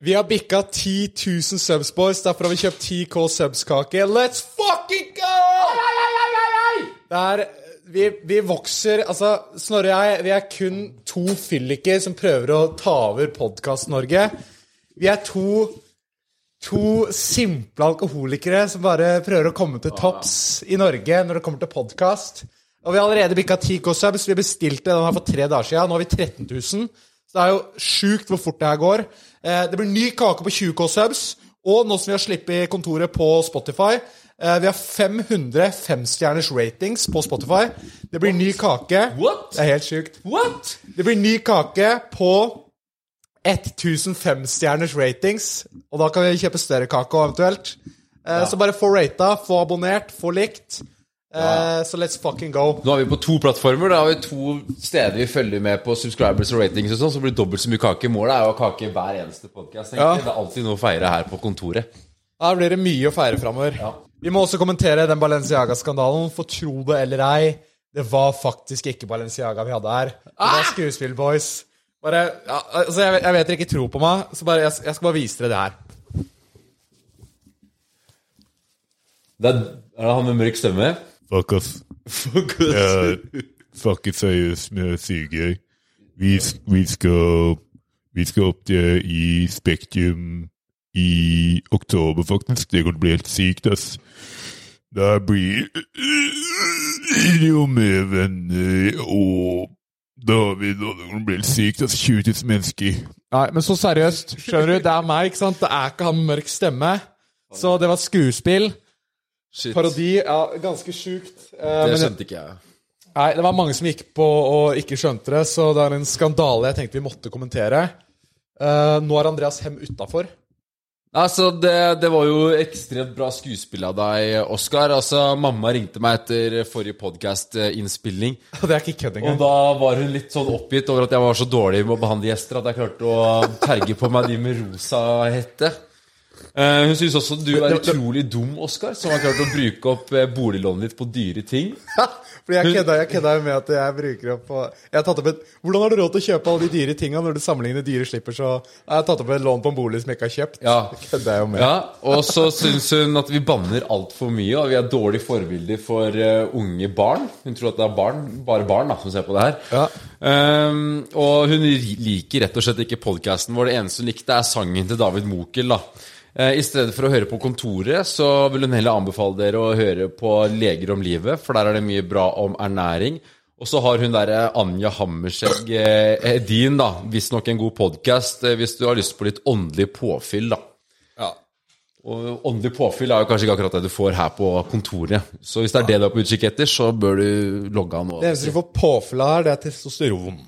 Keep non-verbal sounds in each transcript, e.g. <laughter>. Vi har bikka 10 000 subs, boys. Derfor har vi kjøpt 10K subs-kake. Let's fucking go! Det er vi, vi vokser Altså, Snorre og jeg, vi er kun to fylliker som prøver å ta over Podkast-Norge. Vi er to To simple alkoholikere som bare prøver å komme til topps i Norge når det kommer til podkast. Og vi har allerede bikka 10K subs. Vi bestilte den her for tre dager siden. Nå har vi 13 000. Så det er jo sjukt hvor fort det her går. Eh, Det blir ny kake på 20K subs. Og nå som vi har sluppet kontoret på Spotify eh, Vi har 500 femstjerners ratings på Spotify. Det blir ny kake. What? Det er helt sjukt. What?! Det blir ny kake på 1005-stjerners ratings, og da kan vi kjøpe større kake også, eventuelt. Eh, Så bare få rata, få abonnert, få likt. Eh, Så let's fucking go. Nå er vi på to plattformer. Da har vi to steder vi følger med på subscribers og ratings og sånn, så blir det dobbelt så mye kake. Målet er jo å ha kake i hver eneste podkast. Ja. Det er alltid noe å feire her på kontoret. Da blir det mye å feire framover. Vi må også kommentere den Balenciaga-skandalen, for tro det eller ei, det var faktisk ikke Balenciaga vi hadde her. Det var Skuespill Boys. Bare, ja, altså jeg, jeg vet dere ikke tror på meg, så bare, jeg, jeg skal bare vise dere det her. Det er, er det han med mørk stemme? <laughs> Fuck oss. Fuck us. Eh, fucking seriøst med å si gøy. Vi, vi, skal, vi skal opp der i Spektrum i oktober, faktisk. Det kan bli helt sykt, ass. Da blir det jo med øh, venner og da har vi da det kan bli helt sykt, ass. 20 000 mennesker. Nei, men så seriøst, skjønner du, det er meg, ikke sant? Det er ikke han med mørk stemme. Så det var skuespill. Shit. Parodi, ja, ganske sjukt. Eh, Det men, skjønte ikke jeg. nei, det var mange som gikk på og ikke skjønte det, så det er en skandale jeg tenkte vi måtte kommentere. Eh, nå er Andreas Hem utafor. <laughs> Altså, det, det var jo ekstremt bra skuespill av deg, Oskar. Altså, mamma ringte meg etter forrige eh, podkast-innspilling, Det er ikke kødd og engang. da var hun litt sånn oppgitt over at jeg var så dårlig med å behandle gjester at jeg klarte å terge på meg de med rosa hette. Eh, hun syns også du er utrolig dum, Oskar, som har klart å bruke opp eh, boliglånet ditt på dyre ting. <laughs> Fordi jeg kødda, jeg kødda jo med at jeg bruker opp og Jeg har tatt opp et Hvordan har du råd til å kjøpe alle de dyre tinga når du sammenligner dyre slipper, så Jeg har tatt opp et lån på en bolig som jeg ikke har kjøpt. Ja. Det kødda jeg jo med. Ja, Og så syns hun at vi banner altfor mye, og vi er dårlige forbilder for eh, unge barn. Hun tror at det er barn, bare barn da, som ser på det her. Ja. Ehm, og hun ri- liker rett og slett ikke podkasten vår. Det eneste hun likte, er sangen til David Mokel. da. Eh, I stedet for å høre på Kontoret, så vil hun heller anbefale dere å høre på Leger om livet, for der er det mye bra om ernæring. Og så har hun derre Anja Hammerskjegg eh, Edin, da. Visstnok en god podkast hvis du har lyst på litt åndelig påfyll, da. Og åndelig påfyll er jo kanskje ikke akkurat det du får her på kontoret. Så hvis det er det du er på utkikk etter, så bør du logge av nå. Det eneste du får påfyll av her, det er testosteron.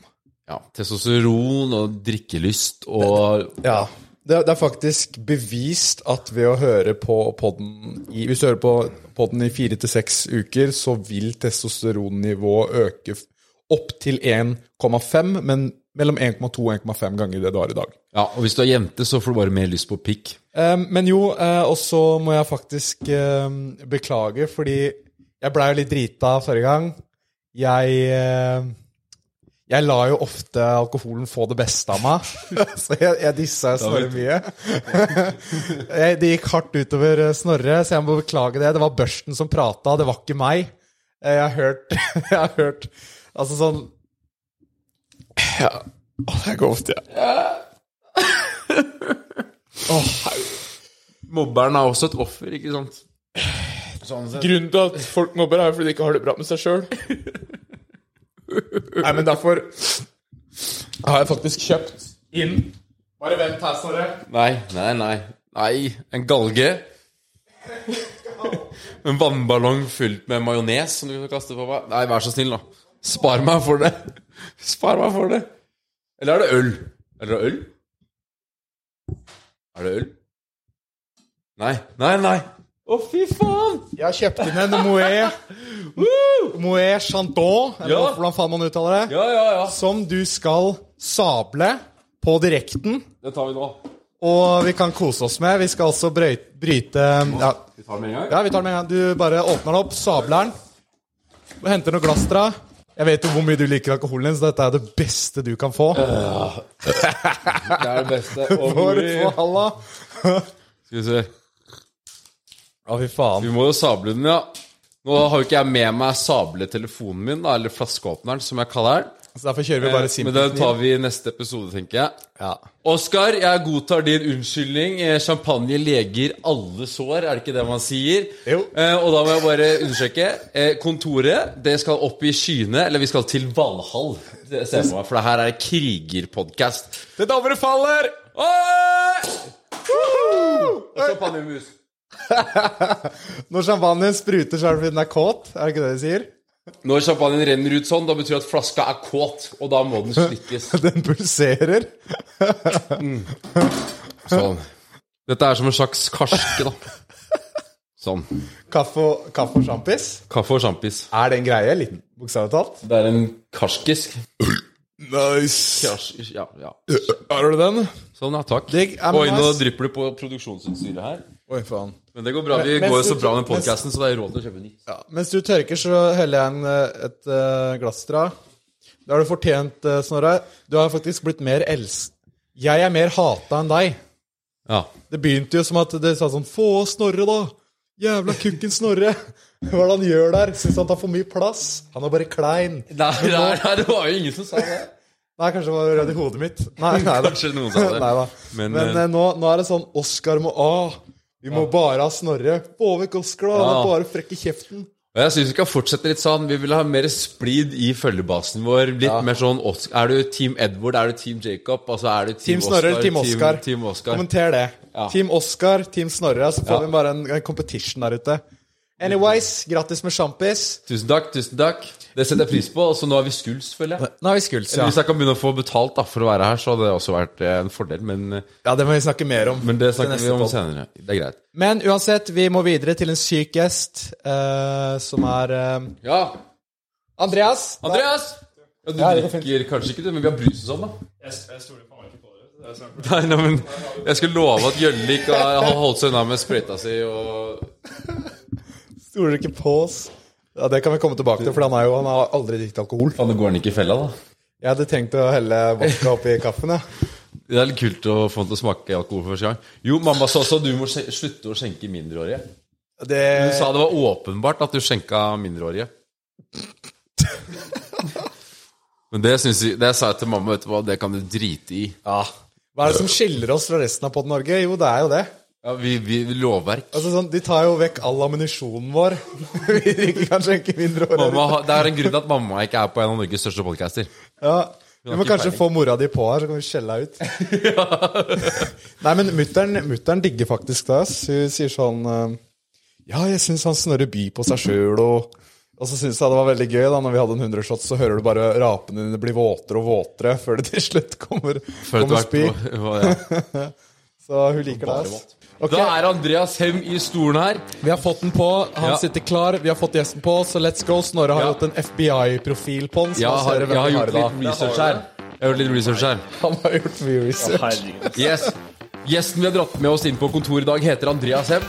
Ja, testosteron og drikkelyst og Ja. Det, det er faktisk bevist at ved å høre på podden i, Hvis du hører på podden i fire til seks uker, så vil testosteronnivået øke f- opp til 1,5, men mellom 1,2 og 1,5 ganger det du har i dag. Ja, og hvis du er jente, så får du bare mer lyst på pikk. Em, men jo, eh, og så må jeg faktisk em, beklage, fordi jeg blei jo litt drita forrige gang. Jeg eh, Jeg lar jo ofte alkoholen få det beste av meg, <laughs> så jeg, jeg dissa jo Snorre mye. <laughs> jeg, det gikk hardt utover eh, Snorre, så jeg må beklage det. Det var børsten som prata, det var ikke meg. Eh, Jeg har hørt <laughs> Jeg har hørt Altså sånn ja. Å, det går ofte, ja. Mobberen er også et offer, ikke sant? Sånn sett. Grunnen til at folk mobber, er jo fordi de ikke har det bra med seg sjøl. <laughs> Nei, men derfor har jeg faktisk kjøpt inn Bare vent her, Snorre. Nei, nei, nei. Nei, en galge. En vannballong fylt med majones som du kan kaste på meg. Nei, vær så snill, da. Spar meg for det. Spar meg for det. Eller er det øl? Er det øl? Er det øl? Nei, nei, nei. Å, fy faen! Jeg har kjøpt inn en <laughs> Moët Woo! Moët Chandon, eller Ja. hvordan faen man uttaler det, Ja, ja, ja. som du skal sable på direkten. Det tar vi nå. Og vi kan kose oss med. Vi skal også brøyte, bryte ja. Vi tar det med en gang. ja, vi tar den med en gang. Du bare åpner den opp, sabler den, og henter noe glass til deg. Jeg vet jo hvor mye du liker alkoholen din, så dette er det beste du kan få. Det er det beste. Og <laughs> For hvor for halla. Skal vi se. Ja, fy faen. Vi må jo sable den, ja. Nå har jo ikke jeg med meg sabletelefonen min, da, eller flaskeåpneren, som jeg kaller den. Eh, Så derfor kjører vi bare Men den simpelthen. tar vi i neste episode, tenker jeg. Ja. Oskar, jeg godtar din unnskyldning. Eh, Champagne leger alle sår, er det ikke det man sier? Jo. Eh, og da må jeg bare understreke. Eh, kontoret, det skal opp i skyene. Eller vi skal til Valhall, det ser jeg for meg. For det her er krigerpodkast. Det davre faller! Champagnemus. Når champagnen spruter, så er det fordi den er kåt. Er det ikke det de sier? <laughs> Når champagnen renner ut sånn, da betyr det at flaska er kåt, og da må den slikkes. Den pulserer. Sånn. Dette er som en slags karske, da. Sånn. Kaffe og, kaffe og sjampis. Kaffe og sjampis. Er det en greie? Litt bokstavelig talt. Det er en karskisk. Nice. Kars, ja, ja. Har du den? Sånn, ja. Takk. Digg, ja, men Oi, nå nice. drypper det på produksjonsutstyret her. Oi, faen. Men det går bra. Vi Men- men går jo så så- bra med men- podkasten, så det er råd til å kjøpe nytt. Ja, mens du tørker, så heller jeg en, eh, et eh, glass til deg. Det har du fortjent, eh, Snorre. Du har faktisk blitt mer els... Jeg er mer hata enn deg. Ja. Det begynte jo som at det sa sånn Få Snorre, da! Jævla kukken Snorre! <laughs> Hva er det han gjør der? Syns han tar for mye plass? Han er bare klein. Nei, nei, nei, det var jo ingen som sa det. Nei, kanskje det var rød i hodet mitt. <laughs> Nei, nei da. Kanskje noen sa <laughs> det. Nei da. Men, Men, eh, nå, nå er det sånn Oscar må av. Vi må bare ha Snorre. Få vekk Oscar, da. Han Ja. er bare frekk i kjeften. Og jeg syns vi skal fortsette litt sånn. Vi vil ha mer splid i følgebasen vår. Litt mer sånn Os- Er du Team Edward? Er du Team Jacob? Altså, er du Team Team, Snorre, Oscar, Team Oscar. Team, team Oscar. Kommenter det. Ja. Team Oscar, Team Snorre. Så får Ja. vi bare en, en competition der ute. Anyways, grattis med sjampis. Tusen takk. tusen takk Det setter jeg pris på. Og så nå har vi skuls, føler jeg. Nå har vi skuls, Hvis jeg kan begynne å få betalt da for å være her, så hadde det også vært eh, en fordel. Men, Ja, det må vi snakke mer om. men det til snakker neste vi om podd. senere. Det er greit. Men uansett, vi må videre til en syk gjest, eh, som er eh, Ja, Andreas. Andreas! Ja, du Ja, det går fint. drikker kanskje ikke, du, men vi har brus og sånn, da. Jeg, jeg stoler faen ikke på dere. Det er sånn- snart Nei, nei, men Jeg skulle love at Gjølvik har har holdt seg unna med sprøyta si og Stoler du ikke på oss? Ja, Det kan vi komme tilbake til, for han, er jo, han har aldri drukket alkohol. Faen, det går han ikke i fella, da. Jeg hadde tenkt å helle vodka oppi kaffen, jeg. Det er litt kult å få han til å smake alkohol for første gang. Jo, mamma sa også at du må skje- slutte å skjenke mindreårige. Det Hun sa det var åpenbart at du skjenka mindreårige. <laughs> Men det, synes jeg, det sa jeg til mamma, vet du hva, det kan du drite i. ja. Hva er det som skiller oss fra resten av Podden Norge? Jo, det er jo det. Ja, vi, vi, vi lovverk. Altså sånn, De tar jo vekk all ammunisjonen vår. <laughs> vi ikke kan skjenke mindre Mamma, år. har- det er en grunn til at mamma ikke er på en av Norges største podcaster. Ja. Vi må ikke kanskje peiling. få mora di på her, så kan vi skjelle henne ut. <laughs> Nei, men mutteren, mutteren digger faktisk det. ass. Hun sier sånn eh, Ja, jeg syns han Snorre byr på seg sjøl, og og så syns jeg det var veldig gøy da når vi hadde en 100 shots, så hører du bare rapene dine bli våtere og våtere før det til slutt kommer, Før kommer etter spy. hvert på- ja. Så hun liker det. ass. Ok, <laughs> Da er Andreas Hem i stolen her. Vi har fått den på, han Ja. sitter klar, vi har fått gjesten på, så let's go. Snorre har Ja. gjort en FBI-profil på den. så nå Jeg ser har, dere hvem jeg har vi gjort i litt dag. research her. Jeg har gjort litt research her. Han har gjort mye research. Herregud. Yes. Gjesten vi har dratt med oss inn på kontoret i dag, heter Andreas Hem.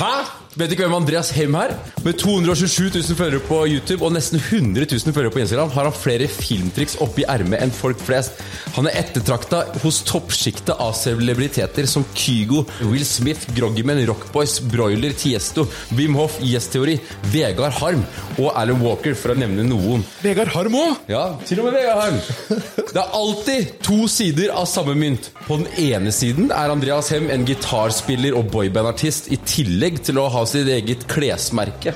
Hæ?! Vet ikke hvem Andreas Hem er? Med 227 000 følgere på YouTube og nesten 100 000 følgere på Instagram har han flere filmtriks oppi ermet enn folk flest. Han er ettertrakta hos toppsjiktet av celebriteter som Kygo, Will Smith, Groggyman, Rockboys, Broiler, Tiesto, Wim Hof, Yes Theory, Vegard Harm og Alan Walker, for å nevne noen. Vegard Harm òg! Ja, til og med Vegard Harm. Det er alltid to sider av samme mynt. På den ene siden er Andreas Hem en gitarspiller og boybandartist, i tillegg til å ha sitt eget klesmerke.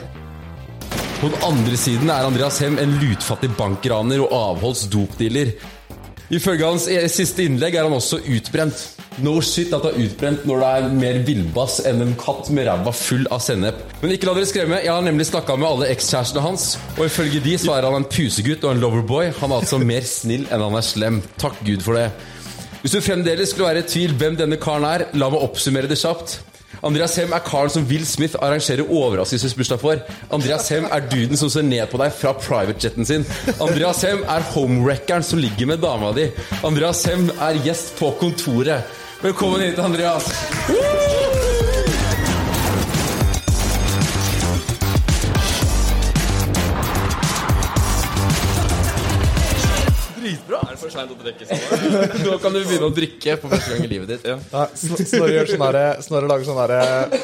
På den andre siden er Andreas Hem en lutfattig bankraner og avholds dopdealer. Ifølge hans eh, siste innlegg er han også utbrent. No shit at du er utbrent når du er mer villbass enn en katt med ræva full av sennep. Men ikke la dere skremme, jeg har nemlig snakka med alle ekskjærestene hans, og ifølge de så er han en pusegutt og en loverboy. Han er altså mer snill enn han er slem. Takk Gud for det. Hvis du fremdeles skulle være i tvil hvem denne karen er, la meg oppsummere det kjapt. Andreas Hem er karen som Will Smith arrangerer overraskelsesbursdag for. Andreas Hem er duden som ser ned på deg fra privatjeten sin. Andreas Hem er homewreckeren som ligger med dama di. Andreas Hem er gjest på kontoret. Velkommen hit, Andreas. dritbra! Er det for seint å drikke sånn? <laughs> Nå kan du begynne å drikke for første gang i livet ditt. Nei, Sn- Snorre gjør sånn derre- Snorre lager sånn derre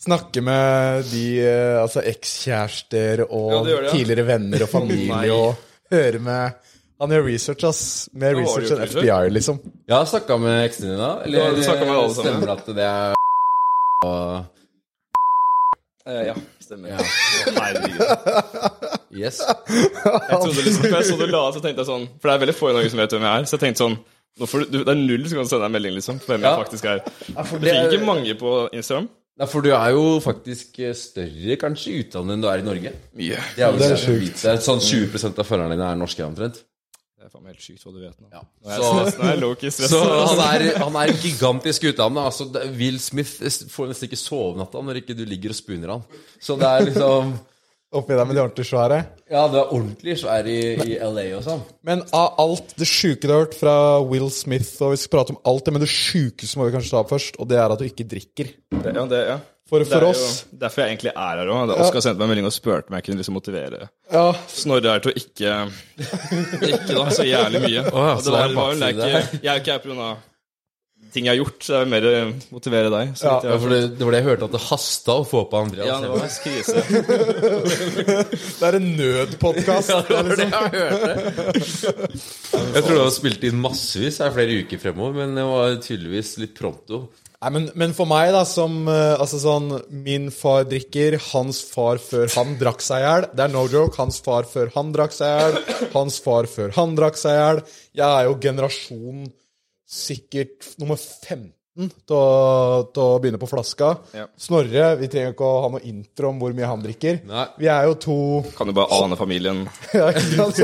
Snakke med de eh, altså ekskjærester og Ja, det gjør det, ja. tidligere venner og Nei. familie og høre med Han gjør research, ass. Mer Ja, har du research enn gjort FBI, liksom. Jeg har snakka med eksen din, da. Eller Du har snakket med alle sammen. stemmer det at det er <laughs> og Eh, ja, stemmer. Ja. Herregud. Yes. Jeg trodde liksom, for jeg så du la ut, så tenkte jeg sånn For det er veldig få i Norge som vet hvem jeg er. Så jeg tenkte sånn nå får du, Det er null som kan sende deg en melding, liksom, på hvem Ja. jeg faktisk er. for Det det er- ligger mange på Instagram. Nei, for du er jo faktisk eh, større kanskje i utlandet enn du er i Norge. Mye. Det er, vel Det er svært å sjukt. vite. Sånn 20 av følgerne dine er norske, omtrent. Det er faen meg helt sykt hva du vet nå. Ja. Nå er Så, jeg, nå er jeg low-key så stressa. han, er, han er gigantisk utlandet. Altså, det- Will Smith s- får nesten ikke sovenatta når ikke du ligger og spooner han. Så det er liksom Oppi der med de ordentlig svære. Ja, du er ordentlig svær i, i LA og sånn. Men av alt det sjuke du har hørt fra Will Smith, og vi skal prate om alt det, men det sjukeste må vi kanskje ta opp først, og det er at du ikke drikker. Ja, det, ja. For, Det er for jo oss derfor jeg egentlig er her òg. Oskar sendte meg en melding og spurte om jeg kunne liksom motivere ja, Snorre her til å ikke drikke da, så jævlig mye. ja, Og så det var, det er det var vel bakside ikke, jeg er ikke her pga. ting jeg har gjort, så jeg vil mer eh, motivere deg. Så Ja, vidt Ja, jeg, for det, det var det jeg hørte, at det hasta å få på Andreas. ja, det var krise. Det er en <laughs> nødpodkast. Ja, det var det jeg hørte. Jeg tror det var spilt inn massevis her flere uker fremover, men det var tydeligvis litt pronto. Nei, men, men for meg, da, som eh, Altså sånn Min far drikker, hans far før han drakk seg i hjel. Det er no joke. Hans far før han drakk seg i hjel. Hans far før han drakk seg i hjel. Jeg er jo generasjon sikkert nummer 15 til å, til å begynne på flaska. Ja. Snorre, vi trenger ikke å ha noe intro om hvor mye han drikker. Nei. Vi er jo to Kan du bare ane familien? ja, ikke <laughs> sant?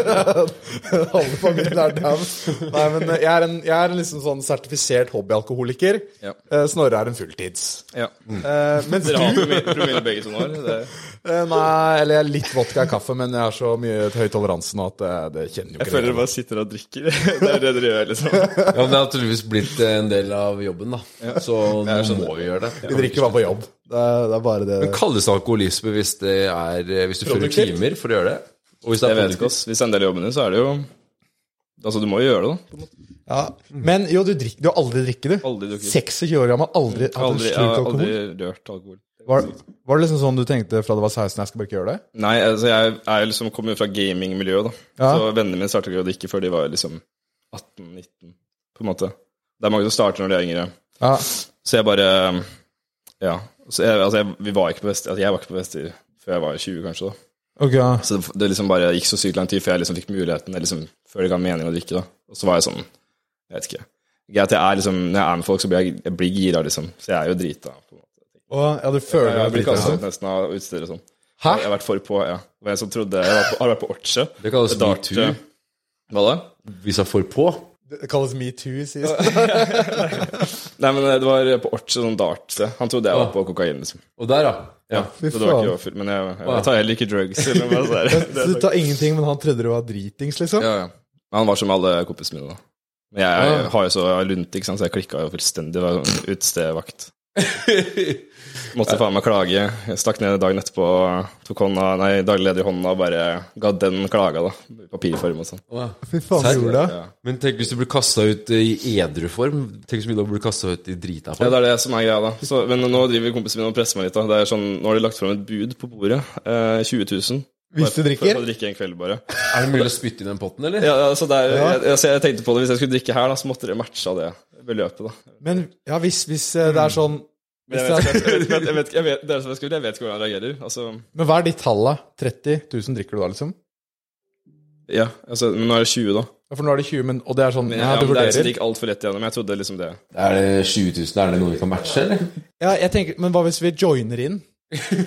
Alle familier er down. Nei, men jeg er en, jeg er en liksom sånn sertifisert hobbyalkoholiker. Ja. Eh, Snorre er en fulltids. Ja. Eh, mens <laughs> Dere har du promille, promille begge to nå? eller? Det- Eh, Nei, eller jeg er litt vodka i kaffe, men jeg har så mye høy toleranse nå at det, det kjenner jo Jeg ikke føler dere det. bare sitter og drikker. <laughs> Det er det dere gjør, liksom. Ja, men Det har tydeligvis blitt en del av jobben, da. Så nå må vi gjøre det. Vi drikker bare på jobb. Det er, det er bare det. Kalles det alkoholisme hvis, det er, hvis du fører Produktivt. timer for å gjøre det? Og hvis det Jeg er vet ikke, produktivt? ass. Hvis det er en del av jobben din, så er det jo Altså, du må jo gjøre det, da. Ja. Mhm. Men jo, du, drikk- du har aldri drikket, du. Aldri drukket. Mm. 26 år gammel, aldri hatt en Aldri, jeg slurk har alkohol. aldri rørt alkohol. Var, var det liksom sånn du tenkte fra du var 16, jeg skal bare ikke gjøre det? Nei, altså, jeg er jo liksom kommer jo fra gamingmiljøet, da. Ja. Så vennene mine starta ikke å drikke før de var liksom 18-19, på en måte. Det er mange som starter når de er yngre. Ja. Så jeg bare Ja. Så jeg, altså, jeg, vi var ikke på best, altså, jeg var ikke på bester før jeg var 20, kanskje, da. Ok, ja. Så det, det liksom bare gikk så sykt lang tid før jeg liksom fikk muligheten, eller liksom, før det ga mening å drikke. da. Og så var jeg sånn Jeg vet ikke. Jeg, at jeg er liksom, Når jeg er med folk, så blir jeg, jeg blir gira, liksom. Så jeg er jo drita. på en måte. Og, ja, du føler Jeg deg blir litt kastet altså. ut nesten av utesteder og sånn. Hæ? Jeg har vært for på, ja. Det var en som trodde Jeg var på, har vært på Orche. Det kalles Det dart- metoo. Hva da? Hvis jeg får på? Det kalles metoo, <laughs> sies det. Nei, men eh, det var på Orche, sånn dart. se. Han trodde jeg var på kokain, liksom. Og der, ja. Ja, Ah. fy Så det faen. var Ah. ikke jeg var full. Men jeg, jeg tar heller ikke drugs. Eller hva det er. Så du tar ingenting, men han trodde du var dritings, liksom? Ja, ja. Men han var som alle kompisene mine, da. Men jeg, jeg, Ah. har jo så jeg har lunt, ikke sant, så jeg klikka jo fullstendig. Var <laughs> sånn utestedvakt. Måtte faen meg klage. Jeg stakk ned dagen etterpå og tok hånda, nei, daglig leder i hånda og bare ga den klaga, da. I Papirform og sånn. Å, ja. Fy faen, Serr? du gjorde det? Ja. Men tenk hvis du blir kasta ut i edru form. Tenk så mye du blir kasta ut i drita Ja, form. det er det som er greia, da. Så, men nå driver kompisen min og presser meg litt. da. Det er sånn, Nå har de lagt fram et bud på bordet. Eh, 20 000. Hvis du Bare for- drikker? For å drikke en kveld, bare. Er det mulig å spytte i den potten, eller? Ja, ja, så det er, Ja. jeg, altså, jeg tenkte på det, Hvis jeg skulle drikke her, da, så måtte det matcha det beløpet. da. Men ja, hvis, hvis eh, det er sånn Mm. Men jeg vet, ikke- jeg vet, ikke- jeg vet, ikke- jeg vet, det er som jeg skulle, jeg vet ikke hvordan jeg reagerer. Altså, Men hva er de talla? 30 000 drikker du da, liksom? ja, altså, men nå er det 20, da. Ja, For nå er det 20, men, og det er sånn Men, ja, ja, du men det er liksom, vurderer. det gikk altfor lett igjennom. Jeg trodde liksom <laughs> det. Er det 20 000? Er det noe vi kan matche, eller? Ja, jeg tenker, Men hva hvis vi joiner <laughs> inn?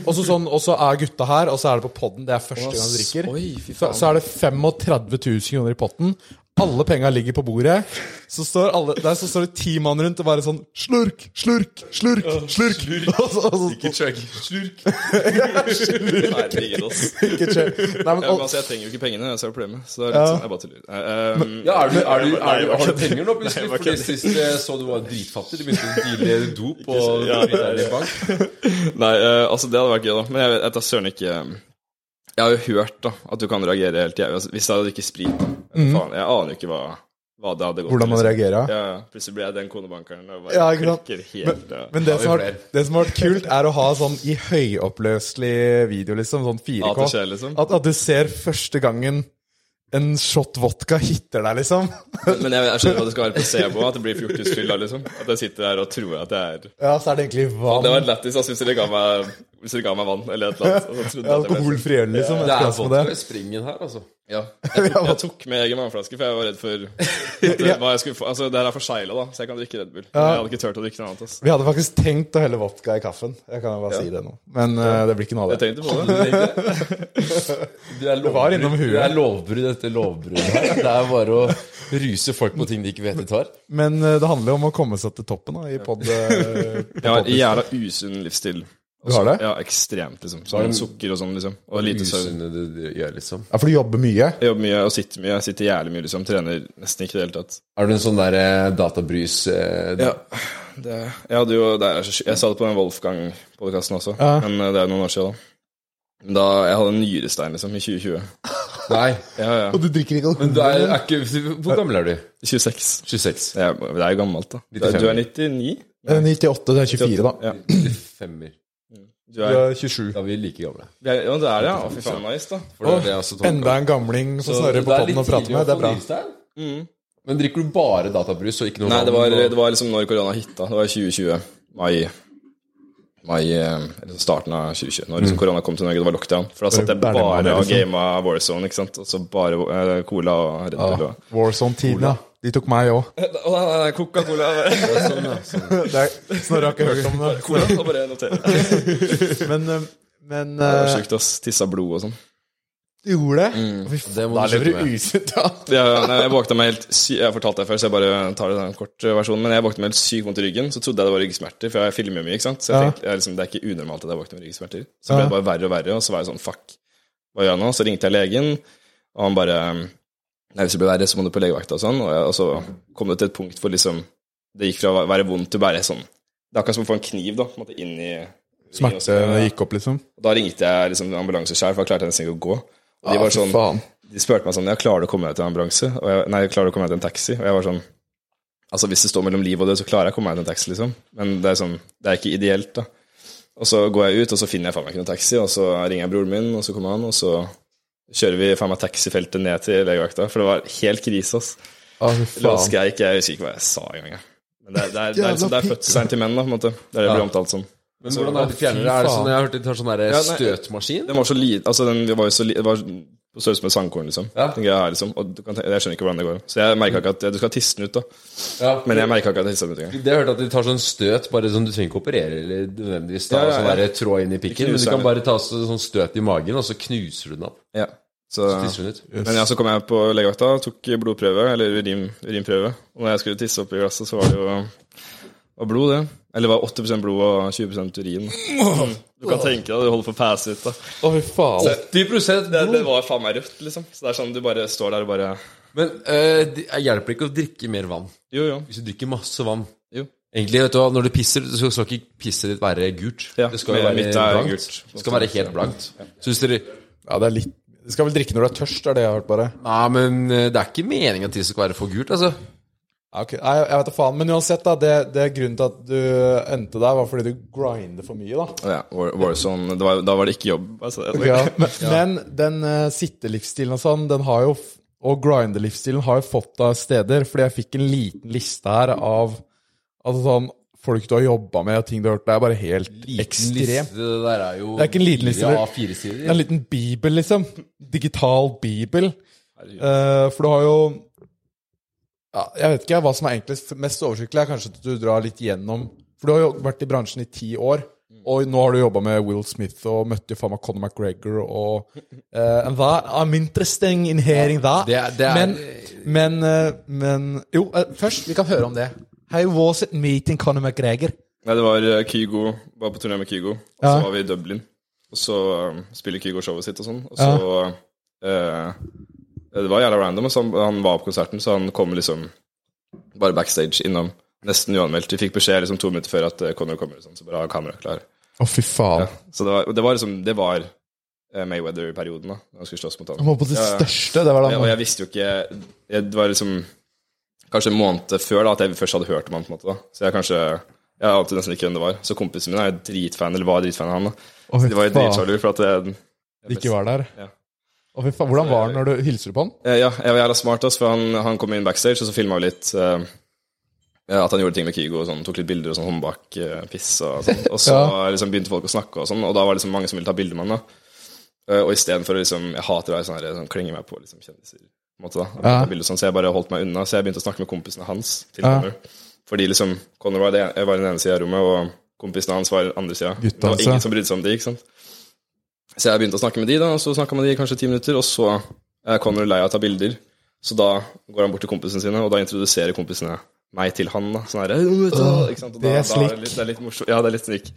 Og så sånn, og så er gutta her, og så er det på podden. Det er første gang du drikker. Oi, fy Så, faen. så er det 35 000 kroner i potten. Alle penga ligger på bordet. Så står, alle, der, så står det ti mann rundt og bare sånn Slurk, slurk, slurk, slurk. <laughs> Og så, og så, Slurk. Herregud, ass. ikke skje. Nei, men, Ja, men, og, altså, jeg trenger jo ikke pengene, så er det problemet. Så det er litt Ja. sånn, jeg bare tuller. Eh, ehm, Ja, er du, er du, Nei, er du, jeg har var du kødder. penger nå, plutselig? Nei, jeg var Fordi kødder. sist jeg så du var dritfattig. Du begynte å deale dop og Ja, det er drikke deg i det. bank. Nei, eh, altså, det hadde vært gøy, da. Men jeg vet jeg tar søren ikke eh, Jeg har jo hørt da, at du kan reagere helt jævlig altså, hvis jeg hadde drukket sprit. da. Eller faen, jeg aner jo ikke hva, hva det hadde gått Hvordan man liksom. reagerer. Ja, ja. plutselig ble jeg den konebankeren og bare Ja, ikke sant? klikker Men, helt. ja. men det, vi som har, flere. det som har vært kult, er å ha sånn i høyoppløselig video, liksom. Sånn 4K. At det skjer, liksom. At, at du ser første gangen en shot vodka hitter deg, liksom. Men jeg, jeg skjønner at det skal være placebo, at det blir fjortisfylla, liksom. At jeg sitter der og tror at jeg er Ja, så er det egentlig Det var vann. lættis. Jeg syns de ga meg Hvis de ga meg vann eller et eller annet. og så trodde jeg at jeg ble Alkoholfri øl, liksom. Det er Jeg skal ha vodka med i springen her, altså. Ja. Jeg tok, jeg tok med egen vannflaske, for jeg var redd for at det- hva jeg skulle få. Altså, det her er for seila, da, så jeg kan drikke Red Bull. Men jeg hadde ikke turt å drikke noe annet. altså. ass. Vi hadde faktisk tenkt å helle vodka i kaffen. Jeg kan jo bare si det nå. Men eh, det blir ikke noe av det. Jeg tenkte på det. Du er var innom lovbrudd huet. du er lovbrudd etter lovbrudd her. Det er bare å ruse folk på ting de ikke vet de tar. Men eh, det handler jo om å komme seg til toppen da, i pod... eh, på Jeg har en podlisten. jævla usunn livsstil. Du har det? Ja, ekstremt, liksom. Så har jeg sukker og sånn, liksom. Og lite søvn. Usunne du gjør, liksom. Ja, for du jobber mye. Jeg jobber mye og sitter mye. Jeg sitter jævlig mye, liksom. Trener nesten ikke i det hele tatt. Er du en sånn der eh, databrys eh, Ja, det, jeg hadde jo det er så sky- Jeg sa det på den Wolfgang-podkasten også, Ja. men eh, det er noen år siden. da. Men da, Jeg hadde en nyrestein, liksom, i 2020. Nei. Ja, ja. Og du drikker ikke Men du er, er ikke Hvor gammel er du? 26. 26. Det er, det er jo gammelt, da. Du er, du er 99? Eh, 98, du er 24, da. Ja. Femmer. Du Du er, er 27. Da er vi like gamle. vi er, ja, det er det, ja. Å, fy faen, nice, da. For det er det jeg også tolker. Enda en gamling som Sånn- Så snørrer det på er podden litt og prater tidlig med. å Det få er bra. nyrestein. Men drikker du bare databrus og ikke noe Mm. Nei, det var, vann og- det var liksom når korona hitta. Det var i 2020. Mai. Mai eh, eller starten av 2020. Når liksom korona kom til Norge, det var lockdown. For da satt jeg Bare bare Bernemann, og liksom. gama Warzone, ikke sant. Og så bare eh, cola og Red Bull. Ja. og- <laughs> Warzone-tiden, ja. De tok meg <laughs> òg. Å, nei, nei, Coca-Cola. <laughs> Snorre har ikke hørt om <laughs> det. Cola, og bare notere. Men, eh, men Det var eh, sjukt, ass. Tissa blod og sånn. Mm. du gjorde det? Fy faen, Mm. Det må Da du lever slutte du med. usunt, ja. Ja, ja, nei, jeg våkna meg helt sy Jeg har fortalt det før, så jeg bare tar det den korte versjonen. Men jeg våkna meg helt sykt vondt i ryggen, så trodde jeg det var ryggsmerter, for jeg filmer jo mye, ikke sant. Så jeg Ja. tenkte, jeg, liksom, det er ikke unormalt at jeg våkner med ryggsmerter. Så ble det bare verre og verre, og så var jeg sånn fuck, hva gjør jeg nå? Så ringte jeg legen, og han bare Nei, hvis det blir verre, så må du på legevakta og sånn. Og, jeg, og så kom det til et punkt hvor liksom Det gikk fra å være vondt til å være sånn Det er akkurat som å få en kniv, da, på en måte inn i Smertene gikk opp, liksom. Og Da ringte jeg liksom ambulanse sjøl, for da klarte jeg nesten ikke å gå. Og Ah, de var sånn faen. de spurte meg sånn Ja, klarer du å komme deg til en ambulanse? Og jeg, nei, klarer du å komme deg til en taxi? Og jeg var sånn Altså, hvis det står mellom liv og død, så klarer jeg å komme meg til en taxi, liksom. Men det er sånn Det er ikke ideelt, da. Og så går jeg ut, og så finner jeg faen meg ikke noen taxi, og så ringer jeg broren min, og så kommer han, og så kjører vi faen meg taxifeltet ned til legevakta, for det var helt krise, ass. Å, Ah, fy Eller hva faen. skal jeg ikke Jeg husker ikke hva jeg sa engang, jeg. Men det er, det er, det er, liksom, det er Jævla fødselen til menn, da, på en måte. Det er det det blir omtalt som. Men hvordan er det de fjerner det? Er det sånn, jeg har hørt de tar sånn der nei. støtmaskin? Den var så liten Altså, den vi var jo så li- Det var på størrelse med sandkorn, liksom. Ja. Den greia her, liksom. Og du kan, te- jeg skjønner ikke hvordan det går. Så jeg merket ikke at Du skal tisse den ut, da. Ja, Men jeg merket ikke at jeg tissa den ut Det engang. har jeg hørt at de tar sånn støt, bare sånn du trenger ikke operere eller nødvendigvis ta Ja, ja, sånn ja. der tråd inn i pikken, men du knuser kan den. bare ta så- sånn støt i magen, og så knuser du den opp. Ja. Så, Tisser den ut. men ja, så kom jeg på legevakta, tok blodprøve, eller urin, urinprøve. Og når jeg skulle tisse oppi glasset, så var det jo var blod, det. Eller det var 80 blod og 20 urin. Du kan tenke deg, du holder på å passe ut, da. Å, fy faen. 80 Det, det blod! var faen meg rødt, liksom. Så det er sånn, du bare står der og bare Men eh, det hjelper ikke å drikke mer vann. Jo, jo. Hvis du drikker masse vann jo. Egentlig, vet du hva, Når du pisser, så skal ikke pisset ditt være gult. Ja, det skal jo men være mitt er blankt. gult. Det skal være helt blankt. Så hvis dere Ja, det er litt Du skal vel drikke når du er tørst, er det jeg har hørt, bare. Nei, men eh, det er ikke meninga at tisset skal være for gult, altså. Ja, Ah, ok. Nei, jeg vet da faen. Men uansett, da. Det, det er grunnen til at du endte der, var fordi du grinder for mye, da. Ja, War- Warzone det var, Da var det ikke jobb. Altså, <laughs> Ja, men, men den eh, sittelivsstilen og sånn, den har jo f- Og grindelivsstilen har jo fått deg steder, fordi jeg fikk en liten liste her av altså sånn, folk du har jobba med, og ting du har hørt. Det er bare helt Liten ekstremt. liste, det der er jo Det er ikke en liten liste, fire det- av fire sider. Det er en liten bibel, liksom. Digital bibel. Eh, for du har jo ja, Jeg vet ikke hva som er enklest. Mest oversiktlig er kanskje at du drar litt gjennom For du har jo vært i bransjen i ti år, og nå har du jobba med Will Smith og møtte jo faen meg Conor McGregor og eh, and that, I'm interesting in hearing that. Det er- det er- men, men, eh, men Jo, eh, først, vi kan høre om det. How was it meeting Conor McGregor? Nei, det var eh, Kygo, var på turné med Kygo, og så Ja. var vi i Dublin. Og så eh, spiller Kygo showet sitt og sånn, og så eh, Det var jævla random, og så han, han var på konserten, så han kom liksom bare backstage innom. Nesten uanmeldt. Vi fikk beskjed liksom to minutter før at eh, Conor kommer, og sånn, "Ah, så bare ha kameraet klar. Å, fy faen. Så det var, og det var liksom Det var eh, Mayweather-perioden, da. Da han skulle slåss mot han. Han var på sitt Ja, ja. største. Det var da Ja, han og jeg visste jo ikke jeg, Det var liksom kanskje en måned før da, at jeg først hadde hørt om han. på en måte da. Så jeg kanskje Jeg ante nesten ikke hvem det var. Så kompisen min er jo dritfan, eller var dritfan av han. da. Å, fy Så de var jo faen, dritsjalu for at jeg, de ikke var der. Ja. Å, fy faen, hvordan var han når du hilser på han? Eh, Ja, jeg var jævla smart, ass, for han, han kom inn backstage, og så filma vi litt eh, ja, at han gjorde ting med Kygo og sånn, tok litt bilder og sånn håndbakpiss og sånn. Og <laughs> så liksom begynte folk å snakke og sånn, og da var det liksom mange som ville ta bilde med han, da. Eh, Og istedenfor å liksom Jeg hater å være sånn her, sånn, klenge meg på liksom, kjendiser, på en måte, da. Og Ja. ta bilder og sånn, så jeg bare holdt meg unna, så jeg begynte å snakke med kompisene hans til Ja. Connor. Fordi liksom Connor var, det, jeg var i den ene sida av rommet, og kompisene hans var i den andre sida. Det Gutta, var altså. ingen som brydde seg om de, ikke sant. Så jeg begynte å snakke med de, da, og så snakka man med de i kanskje ti minutter, og så Eh, er Connor lei av å ta bilder. Så da går han bort til kompisene sine, og da introduserer kompisene meg til han. da, sånn her, «Hey, vet du hva?» ikke sant? Og da, det er da slick. litt, det er litt morsomt. Ja, det er litt slik.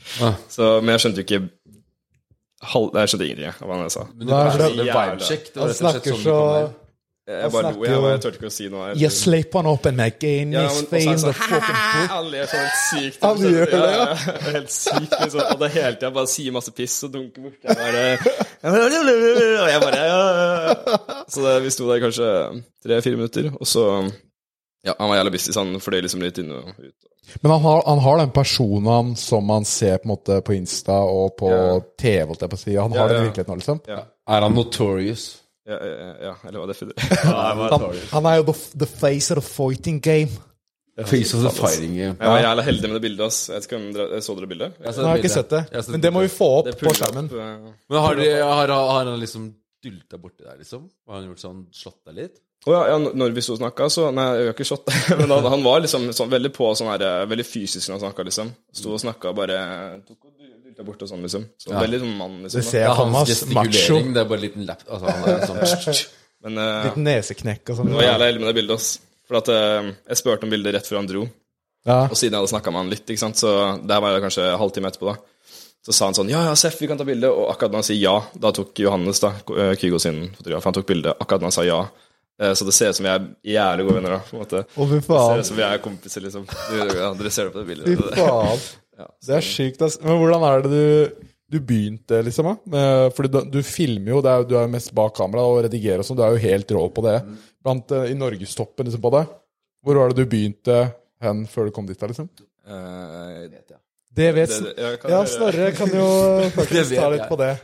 Så, men jeg skjønte jo ikke halv, nei, Jeg skjønte ingenting jeg, av hva han sa. Men Hva er det var det- jævla vibecheck. Det var Han rett og slett snakker sånn så det kom der. Jeg bare lo, snakker jo- jeg, bare- jeg turte ikke å si noe. You slap on open Mac in Ja, his men- og face, så er det the sånn, fucking book. Alle gjør sånn helt sykt. Han gjør det, ja. ja. Helt sykt, liksom. Og det er hele tida bare sier masse piss og dunker bort. Jeg bare, og jeg bare ja, ja, ja. Så det, vi sto der kanskje tre-fire minutter, og så Ja, han var jævla busy, så han fløy liksom litt inn og ut. Men han har, han har den personen som man ser på, en måte, på Insta og på Ja. TV. holdt jeg på å si. Han har Ja, den i ja. virkeligheten nå, liksom. Er han notorious? Ja, ja, ja, eller hva det funnet Han, han er jo the, the face of the fighting game. Face of the fighting game. Jeg var jævla heldig med det bildet, ass. Jeg vet ikke om dere Så dere bildet? Jeg Nå har jeg ikke bildet. sett det, Jeg har sett men det må vi bildet. få opp Det er på pull-up, skjermen. eh. Men har, de, har, har han liksom dylta borti der, liksom? Har han gjort sånn, slått deg litt? Å ja, ja, når vi sto og snakka, så Nei, jeg har ikke slått deg. <laughs> Men han, han var liksom sånn, veldig på sånn her eh, Veldig fysisk når han snakka, liksom. Sto og snakka bare Tok og dulta bort og sånn, liksom. Så Veldig sånn mann, Det liksom. ser jeg Da. Ja, for meg. hans ass. Macho. gestikulering, det er bare en liten lap... Altså, han er sånn <laughs> Men eh, Litt neseknekk og sånn. jeg var jævla heldig med det bildet, ass. For at eh, jeg spurte om bildet rett før han dro. Ja. Og siden jeg hadde snakka med han litt, ikke sant, så der var jeg kanskje en halvtime etterpå, da. Så sa han sånn Ja, ja, Seff, vi kan ta bilde. Og akkurat da han sier ja, da tok Johannes, da, eh, Kygo sin fotograf, han tok bilde akkurat da han sa ja. Eh, Så det ser ut som vi er jævlig gode venner, da, på en måte. Å, fy Ser faen. ut som vi er kompiser, liksom. Du, <laughs> ja, dere ser det på det Fy bildet. faen. Det er sjukt, ass. Men hvordan er det du, du begynte, liksom? da? Med- Fordi du, du filmer jo, det er, jo- du er jo mest bak kamera og redigerer og sånn. Du er jo helt rå på det. Mm. Blant eh, i norgestoppen, liksom, på det. Hvor var det du begynte hen før du kom dit, da, liksom? Eh, Det vet det- jeg kan- Ja, Snorre kan jo <laughs> faktisk vet ta litt jeg. på det.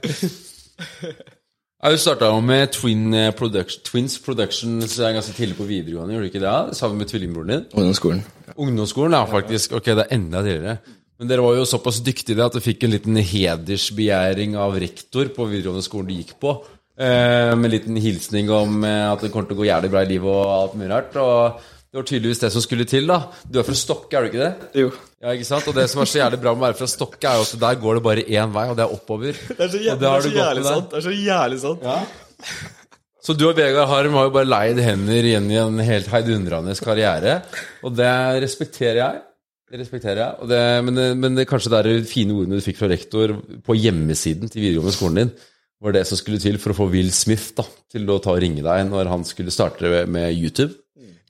Ja, Du starta jo med Twin eh, Production, Twins Productions eh, ganske tidlig på videregående, gjorde du ikke det? ja? Sammen med tvillingbroren din? Ungdomsskolen. Ungdomsskolen er faktisk Ok, det er enda tidligere. Men dere var jo såpass dyktige at dere fikk en liten hedersbegjæring av rektor på videregående skolen du gikk på. Eh, med en liten hilsning om eh, at det kommer til å gå jævlig bra i livet og alt mulig rart. Og det var tydeligvis det som skulle til, da. Du er fra Stokke, er du ikke det? Jo. Ja, ikke sant? Og det som er så jævlig bra med å være fra Stokke, er jo at der går det bare én vei, og det er oppover. Og det har du gått med der. Det er så jævlig sant. Så du og Vegard Harm har jo bare leid hender igjen i en helt heidundrende karriere. Og det respekterer jeg. Det respekterer jeg. Og det, men det, men det, kanskje det er de fine ordene du fikk fra rektor på hjemmesiden til videregående skolen din, var det som skulle til for å få Will Smith da, til å ta og ringe deg når han skulle starte med YouTube.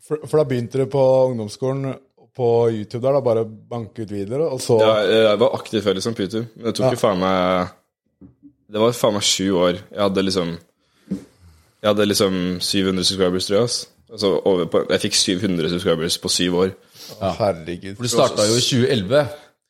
For, for da begynte du på ungdomsskolen på YouTube der, da bare banke ut videoer, og så Ja, jeg var aktiv før, liksom, på YouTube. Men det tok jo faen meg Det var faen meg sju år. Jeg hadde liksom Jeg hadde liksom 700 subscribers, tror jeg. ass. Altså, over på, jeg fikk 700 subscribers på syv år. Herregud. For du starta jo i 2011.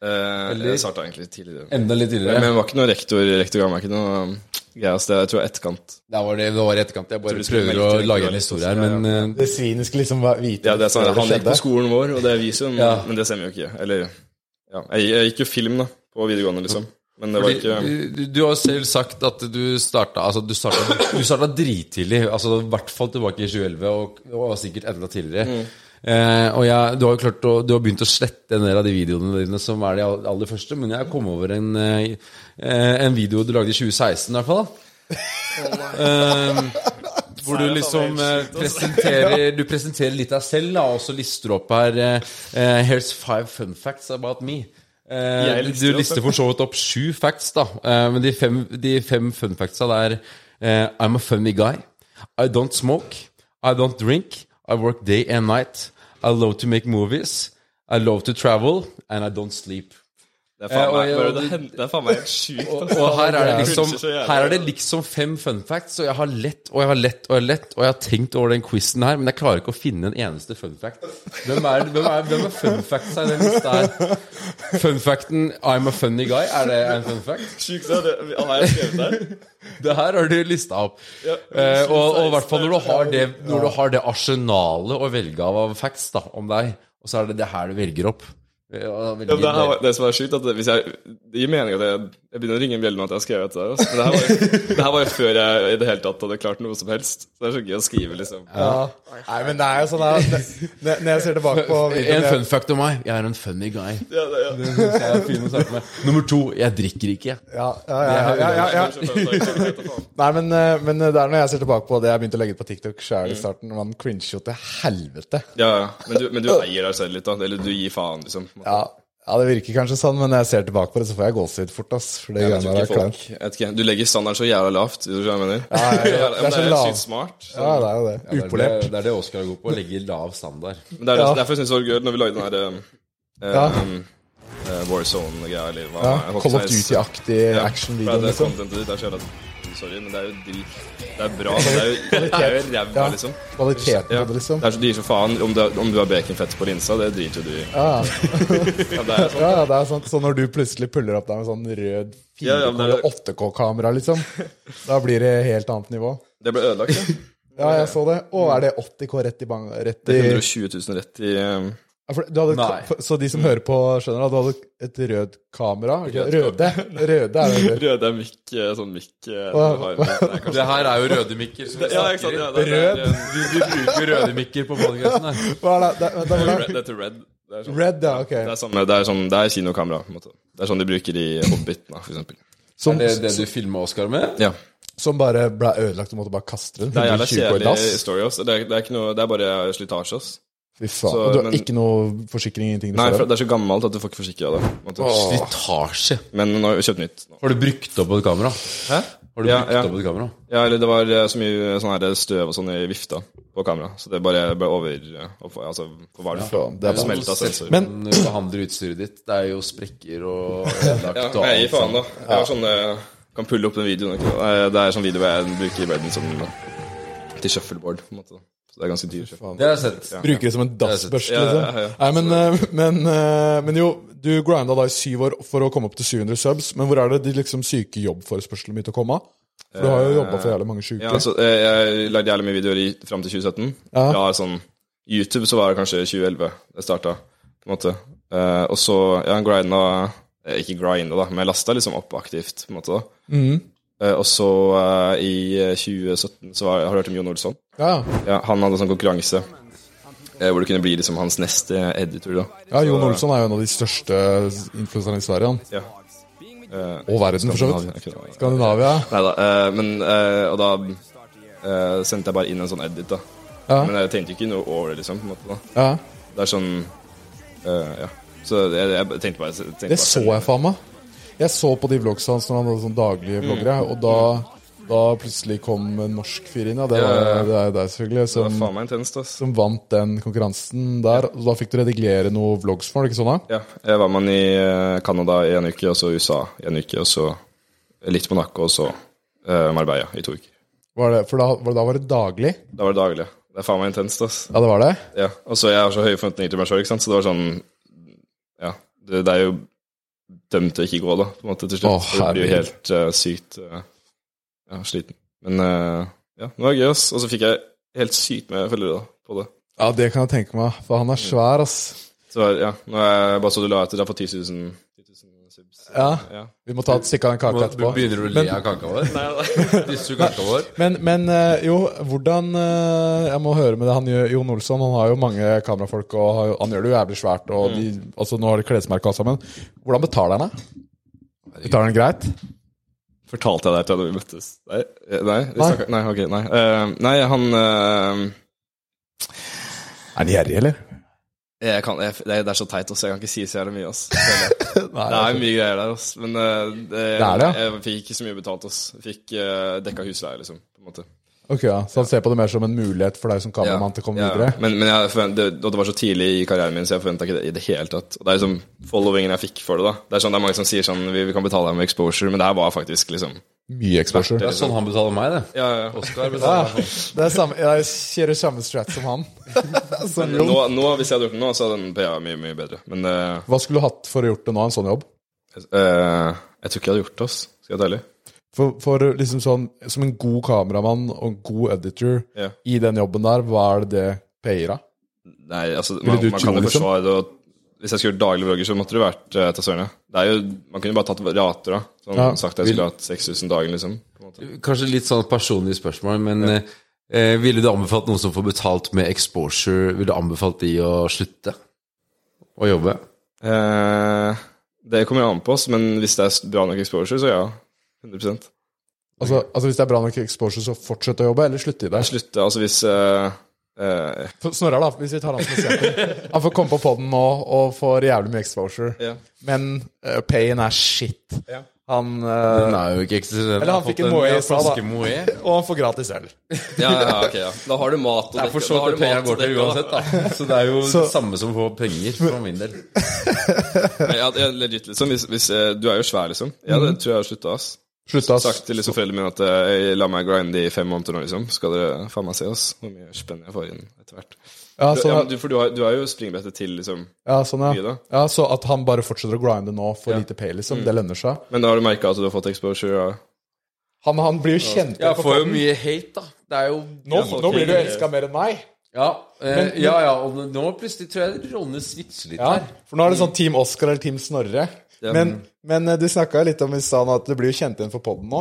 Eh, Eller- jeg starta egentlig litt tidligere. Enda litt Men tidligere. det var ikke noe rektor. Rektor ga meg ikke noe um, greie. ass. Det jeg tror jeg er etterkant. Det var det, det var i etterkant. Jeg du bare skulle prøver å melke- lage en historie her, men eh, Det svinet skulle liksom være- vite Ja, det er sånn, før Han gikk skjedde. på skolen vår, og det er vi som Ja. Men det stemmer jo ikke. Eller ja. jeg, jeg gikk jo film, da, på videregående, liksom. Men det var Fordi, ikke du, du har selv sagt at du starta altså, du starta- du starta drittidlig. Altså, I hvert fall tilbake i 2011, og, og sikkert enda tidligere. Mm. Eh, og jeg, du har jo klart å, du har begynt å slette en del av de videoene dine som er de all- aller første, men jeg kom over en, eh, eh, en video du lagde i 2016, i hvert fall. <laughs> da. Eh, hvor du liksom eh, presenterer, du presenterer litt deg selv, da, og så lister du opp her eh, eh, Here's five fun facts about me. Eh, Jeg du- lister du opp lister for så vidt opp sju facts, da. Eh, men de fem, de fem fun factsa det er eh, I'm a funny guy. I don't smoke. I don't drink. I work day and night. I love to make movies. I love to travel. And I don't sleep. Det er faen Eh, og meg, jeg- bare, det, hen- det er faen meg helt sjukt. <laughs> Og, ass. og her, er det Jeg liksom, crincher så jævlig. her er det liksom fem fun facts, og jeg har lett og jeg har lett og jeg har lett, og jeg har tenkt over den quizen her, men jeg klarer ikke å finne en eneste fun fact. Hvem er, hvem er, hvem er fun facts her? i den lista her? Fun facten 'I'm a funny guy', er det en fun fact? Sjukt, så er det, han har jeg skrevet der. Det her har du lista opp. Ja. Eh, og og i hvert fall når du har det, når du har det arsenalet å velge av av facts da, om deg, og så er det det her du velger opp. Eh, og da Ja, men det, her, velger- var- det som er sjukt, at hvis jeg Det gir mening at jeg, jeg begynner å ringe en bjelle nå at jeg har skrevet det. her, Altså. Men det her, var, jo- det her var jo før jeg i det hele tatt hadde klart noe som helst. Så det er så gøy å skrive, liksom. Nei, men det er jo sånn her at det- Når når jeg ser tilbake på En videoen fun fact om meg. Jeg er en funny guy. Ja, det, ja. Så jeg er fin å snakke med. Nummer to. Jeg drikker ikke. ja, ja, ja, ja, ja, ja, ja. Nei, men, eh, men det er når jeg ser tilbake på det jeg begynte å legge ut på TikTok sjøl i starten. Man cringer jo til helvete. ja, ja. Men, du, men du eier deg selv litt, da. Eller du gir faen, liksom. Ja, ja, det virker kanskje sånn, men når jeg ser tilbake på det, så får jeg gåsehud fort, ass. For det Jeg greiene tror der ikke er kleint. folk jeg vet ikke, Du legger standarden så jævla lavt. Vet du hva jeg mener? <laughs> ja, ja. Men Det er så jo lav. sykt smart. Ja, det er jo det. Upolert. Det er det Oskar går på. Å legge lav standard. Men det er Ja. derfor jeg syns det var gøy når vi lagde den der eh, Ja. eh, eh, Warzone-greia, eller hva Ja, jeg håper Call of jeg- Duty-aktig Ja, for action-video, det er sånn. liksom. contentet ditt er så jævla Sorry, men det er jo drit. Det er bra, men det er jo, det er jo ræva, Ja. liksom. Kvaliteten Ja. på det, liksom. Det er så dyrt som faen. Om du, har- om du har baconfett på linsa, det driter jo du i. Ja, Ja, det er sånn. ja, ja, det er sånn så når du plutselig puller opp deg med sånn rød 4K Ja, ja, men det er- eller 8K-kamera, liksom, da blir det helt annet nivå. Det ble ødelagt, ja. Ja, jeg så det. Å, er det 80K rett i bang... Rett Det i er 120 000 rett i eh, Ja, for du hadde, Nei. for- Så de som hører på, skjønner at du hadde et rød kamera? ikke? Røde. Røde er det. Røde er mikk, eh, sånn mikk eh, Hva- har- Nei, kanskje- Det her er jo røde mikker. som vi Ja, snakker ikke sant. Ja, i. det, det, det, Vi, vi bruker røde mikker på podcasten her. Hva er det? det, det, det, det, er red- det er til red. Det er sånn. Red, ja, ok. Det er, samme, det er, sånn, det er kinokamera. på en måte. Det er sånn de bruker i Hobbiten, da, for eksempel. Som, Er det det du filmer Oskar med? Ja. som bare ble ødelagt og måtte bare kaste den. Det er 120 år jævla i kjedelig dass. story, ass. Det er, det er, ikke noe, det er bare slitasje, ass. Fy faen. Så, og du har men- ikke noe forsikring? ingenting du Nei, får for av? det er så gammelt at du får ikke forsikra det. på en måte. Slitasje. Men nå har vi kjøpt nytt. nå. Har du brukt opp et kamera? Hæ? Har du Ja, brukt ja. opp et kamera? Ja, eller det var eh, så mye sånn her støv og sånn i vifta på kameraet, så det bare ble over eh, opp, Altså, for hva er det? Faen, det er Det altså. bare- smelta sensor. Men- Men behandler utstyret ditt. Det er jo sprekker og ødelagt Ja, og jeg gir alt faen, sånt. da. Jeg har sånn eh, Kan pulle opp den videoen. Ikke? sant? Eh, Det er sånn video hvor jeg bruker verden som eh, til shuffleboard, på en måte. da. Så det er ganske dyr. Det har jeg sett. Bruker det som en Det dassbørste, Ja, liksom. ja, ja. Nei, men, eh, men, eh, men jo, du grinda da i syv år for å komme opp til 700 subs. Men hvor er det de liksom syke jobbforespørslene begynte å komme av? For du har jo jobba for jævlig mange syke. Ja, altså, eh, jeg lagde jævlig mye videoer i, fram til 2017. Ja. Ja, sånn YouTube så var det kanskje 2011 det starta, på en måte. Eh, og så ja, grinda eh, Ikke grinda, da, men jeg lasta liksom opp aktivt, på en måte. da. Mm. Eh, og så eh, i eh, 2017 så var, har du hørt om Jon Olsson? ja. Ja, han hadde en sånn konkurranse eh, hvor du kunne bli liksom hans neste editor, da. eh, ja, Jon Olsson er jo en av de største influenserne i Sverige. Han. Ja. Og verden, for så vidt. Skandinavia. Nei da. eh, men eh, Og da eh, sendte jeg bare inn en sånn edit, da. Ja. Men jeg tenkte jo ikke noe over det, liksom. på en måte da Ja. Det er sånn eh, Ja. Så jeg, jeg tenkte bare tenkte Det bare- sånn, så jeg faen meg. Jeg så på de vlogs hans når han hadde sånn daglige vloggere, og da, da plutselig kom en norsk fyr inn, ja. Det, Ja, ja, var, ja. det er jo deg, selvfølgelig, Det var som, faen meg intenst, ass. som vant den konkurransen der. Og da fikk du redigere noen vlogs for han, ikke sånn? da? Ja, jeg var med han i eh, Canada i en uke, og så USA i en uke, og så litt Monaco, og så eh, Marbella i to uker. Var det, for da var, da var det daglig? Da var det daglig. Det er faen meg intenst, ass. Ja, det var det? Ja. Og så jeg har så høye forventninger til meg sjøl, ikke sant, så det var sånn Ja. Det, det er jo dømt til å ikke gå, da, på en måte, til slutt. Å, For det blir jo herregud. helt eh, sykt eh, ja, sliten. Men eh, ja, det var gøy, ass. Og så fikk jeg helt sykt med følgere da, på det. Ja, det kan jeg tenke meg, for han er svær, ass. Så ja, nå er jeg bare så du la etter deg på 10 000, 10 000 subs. Ja, Ja. Vi må ta et stikke av den kaka Nå etterpå. Begynner du å le av kaka vår? Disser du kaka vår? Men, men eh, jo, hvordan eh, Jeg må høre med det han gjør, Jon Olsson. Han har jo mange kamerafolk, og har, jo- han gjør det jo jævlig svært. Og de, Mm. altså, nå har de klesmerke alt sammen. Hvordan betaler han, da? Betaler han greit? Fortalte jeg deg til da vi møttes? Nei, eh, nei, vi Nei. snakket- nei ok, nei. Eh, nei, han eh, Er han gjerrig, eller? jeg kan, jeg, det, er, det er så teit også, jeg kan ikke si så jævlig mye, <laughs> ass. Føler jeg. Nei, Det er mye greier der, ass. Men eh, det, Det er det, ja. jeg fikk ikke så mye betalt, ass. Jeg Fikk eh, dekka husleie, liksom, på en måte. Ok, ja. Så han ser på det mer som en mulighet for deg som kameramann til å komme Ja, ja. videre? Men, men jeg forvent, det, og det var så tidlig i karrieren min, så jeg forventa ikke det i det hele tatt. Og det er liksom followingen jeg fikk for det, da. Det er sånn, det er mange som sier sånn Vi, vi kan betale deg med exposure, men det her var faktisk liksom Mye exposure. Det er sånn han betaler meg, det. ja, ja. Oskar betaler meg. Ah, Det er samme, jeg kjører samme strat som <laughs> han. Sånn Nå, nå, hvis jeg hadde gjort det nå, så hadde den PA mye, mye bedre. Men eh, Hva skulle du hatt for å gjort det nå, en sånn jobb? eh, jeg tror ikke jeg hadde gjort det, ass. Skal jeg være ærlig. For, for liksom sånn, Som en god kameramann og en god editor Ja. i den jobben der, hva er det det payer av? Nei, altså, man, du man tro, kan jo liksom? forsvare det. Og, hvis jeg skulle gjort daglige vlogger, så måtte det vært uh, til Søren, ja. Det er jo, man kunne jo bare tatt rater, da. Sånn Ja. sagt jeg skulle hatt 6000 dagen, liksom. På en måte. Kanskje litt sånn personlig spørsmål, men eh, ville du anbefalt noen som får betalt med exposure, ville du anbefalt de å slutte å jobbe? Eh, det kommer jo an på oss, men hvis det er bra nok exposure, så ja. 100 Altså, altså Hvis det er bra nok exposure, så fortsett å jobbe, eller slutt i det. Slutte, altså hvis eh, eh, For Snorre, da, hvis vi tar han som eksempel. <laughs> Han får komme på poden nå og får jævlig mye exposure. Ja. Men eh, payen er shit. Han eh, Den er jo ikke eksisterende. Eller han fikk en Moët i stad, da. Moe. Og han får gratis øl. ja, ja, ok, ja. Da har du mat og Det er for så vidt penger går til uansett, da. <laughs> Så det er jo Så- det samme som å få penger, for min del. Ja, ja, legit, liksom. Hvis, hvis, eh, du er jo svær, liksom. Ja, det tror jeg har slutta, ass. Slutt, Mhm. ass. sagt til liksom foreldrene mine at eh, jeg la meg grinde i fem måneder nå, liksom. Skal dere faen meg se oss? Hvor mye spenn jeg får inn etter hvert. Ja, ja, sånn, men du, for du har, du har jo springbrettet til, liksom. ja, sånn, mye ja. da. ja, så at han bare fortsetter å grinde nå for lite pay, Mm. liksom. Det lønner seg. Men da har du merka at du har fått exposure? Ja. Han, han blir jo kjent Jeg for får jo podden. mye hate, da. Det er jo Nå, Ja, nå ok. blir du elska mer enn meg. Ja, eh, ja, ja. Og nå plutselig tror jeg rollene switcher litt Ja, her. Mm. for nå er det sånn Team Oscar eller Team Snorre. Men, men eh, du snakka litt om i stad nå at du blir jo kjent igjen for poden nå.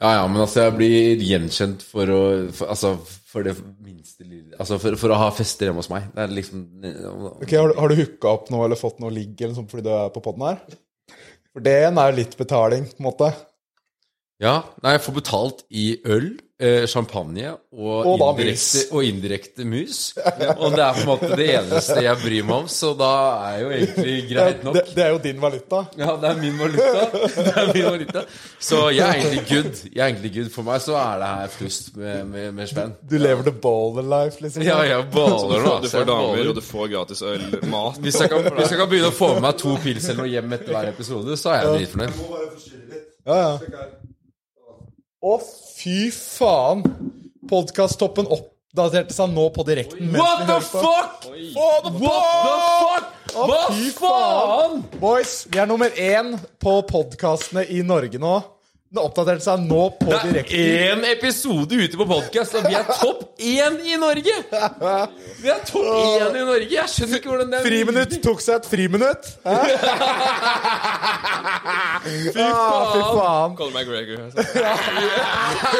Ja, ja, men altså, jeg blir gjenkjent for å for, Altså, for det minste lille Altså, for, for å ha fester hjemme hos meg. Det er liksom Ok, Har du, har du hooka opp noe eller fått noe ligg eller sånt fordi du er på poden her? For det igjen er jo litt betaling, på en måte. Ja. Nei, jeg får betalt i øl, eh, champagne og, Og da indirekte, mus. og indirekte mus. Og det er på en måte det eneste jeg bryr meg om, så da er jo egentlig greit Det, nok. det er jo din valuta. Ja, det er min valuta. Det er min valuta. Så jeg er egentlig good. Jeg er egentlig good. For meg så er det her flust med, med, med spenn. Du lever the baller life, liksom. Ja, jeg baler nå. Du altså, får jeg damer, baler. og du får gratis øl, <laughs> mat Hvis jeg, kan, hvis jeg kan begynne å få med meg to pils eller noe hjem etter hver episode, så er jeg dritfornøyd. Ja, ja. Å, fy faen! Podkasttoppen oppdaterte seg nå på direkten. mens vi hørte på. fuck?! What the fuck?! Hva fy faen! Boys, vi er nummer én på podkastene i Norge nå. Den oppdaterte seg nå på Det er direkten. én episode ute på podkast, og vi er topp én i Norge! Vi er topp én i Norge! Jeg skjønner ikke hvordan det er Friminutt tok seg et friminutt. Hæ? <laughs> Fy faen! Fy faen. Colin McGregor. altså.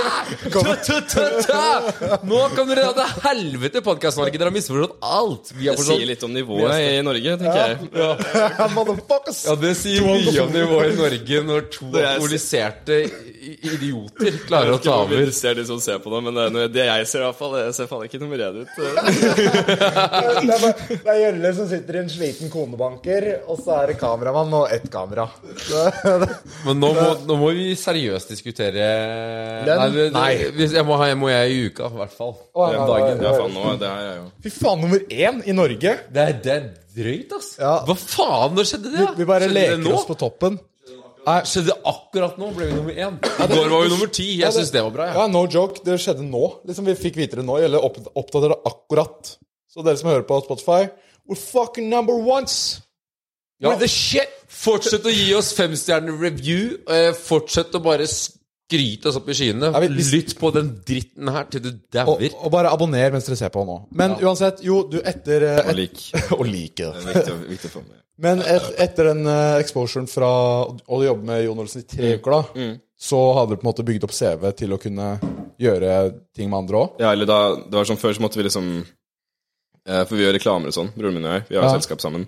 <laughs> <laughs> Ta-ta-ta-ta! Nå kan dere dra til helvete, Podkast-Norge! Dere har misforstått alt! Vi har sånn- Det sier forstått litt om nivået i Norge, tenker jeg. Motherfuckers! Ja, det sier mye om nivået i Norge når to er- alkoholiserte i- idioter klarer å ta Ikke over. hvor ser de som ser på det, men eh, når- det jeg ser, i hvert fall, det ser faen ikke nummer én ut. Eh, Det er bare- det er Jølle som sitter i en sliten konebanker, og så er det kameramann og ett kamera. Men nå må, nå må vi seriøst diskutere Lønn? det- det- Nei. Hvis jeg må ha jeg må jeg i uka, i hvert fall. Å, ja, Den dagen. Ja, faen, nå, det her er jo Fy faen, nummer én i Norge! Det er, det er drøyt, ass. Ja. Hva faen, når skjedde det? da? Vi bare skjedde det leker nå? oss på toppen. Nei, skjedde det akkurat nå? Ble vi nummer én? I går var vi nummer ti. Jeg syns det var bra. Ja. Ja. no joke. Det skjedde nå. Liksom Vi fikk vite det nå. Gjelder opp, oppdater det akkurat. Så dere som hører på Spotify We're fucking number ones! Ja. We're the shit! Fortsett å gi oss femstjerner review. Eh, fortsett å bare skryte oss opp i skyene. vi- hvis- Lytt på den dritten her til du Og, dauer. og bare abonner mens dere ser på nå. Men uansett, jo, du etter eh, et, lik. Og like det. Viktig, viktig for meg. Men et, etter den eh, exposuren fra å jobbe med Jon Olsen i tre Mm. uker, da, så hadde dere på en måte bygd opp CV til å kunne gjøre ting med andre òg. Ja, eller da, det var sånn før så måtte vi liksom eh, For vi gjør reklamer og sånn, broren min og jeg. Vi har jo Ja. selskap sammen.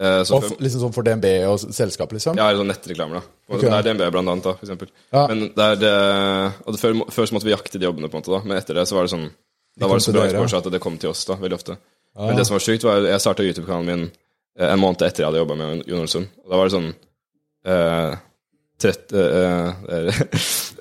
Eh, så Og før, f- liksom sånn for DNB og s- selskap, liksom. ja, eller sånn nettreklamer, da. Og Det er DNB blant annet, da, for eksempel. Ja. Men det er det, og det, før, må- før så måtte vi jakte de jobbene, på en måte, da. Men etter det så var det sånn Da var det kom så til bra dere, ja. Ah. exposure at det kom til oss, da, veldig ofte. Men det som var sykt, var jeg starta YouTube-kanalen min eh, en måned etter jeg hadde jobba med Jon Olsson. Og da var det sånn <laughs> eh, 30, eh,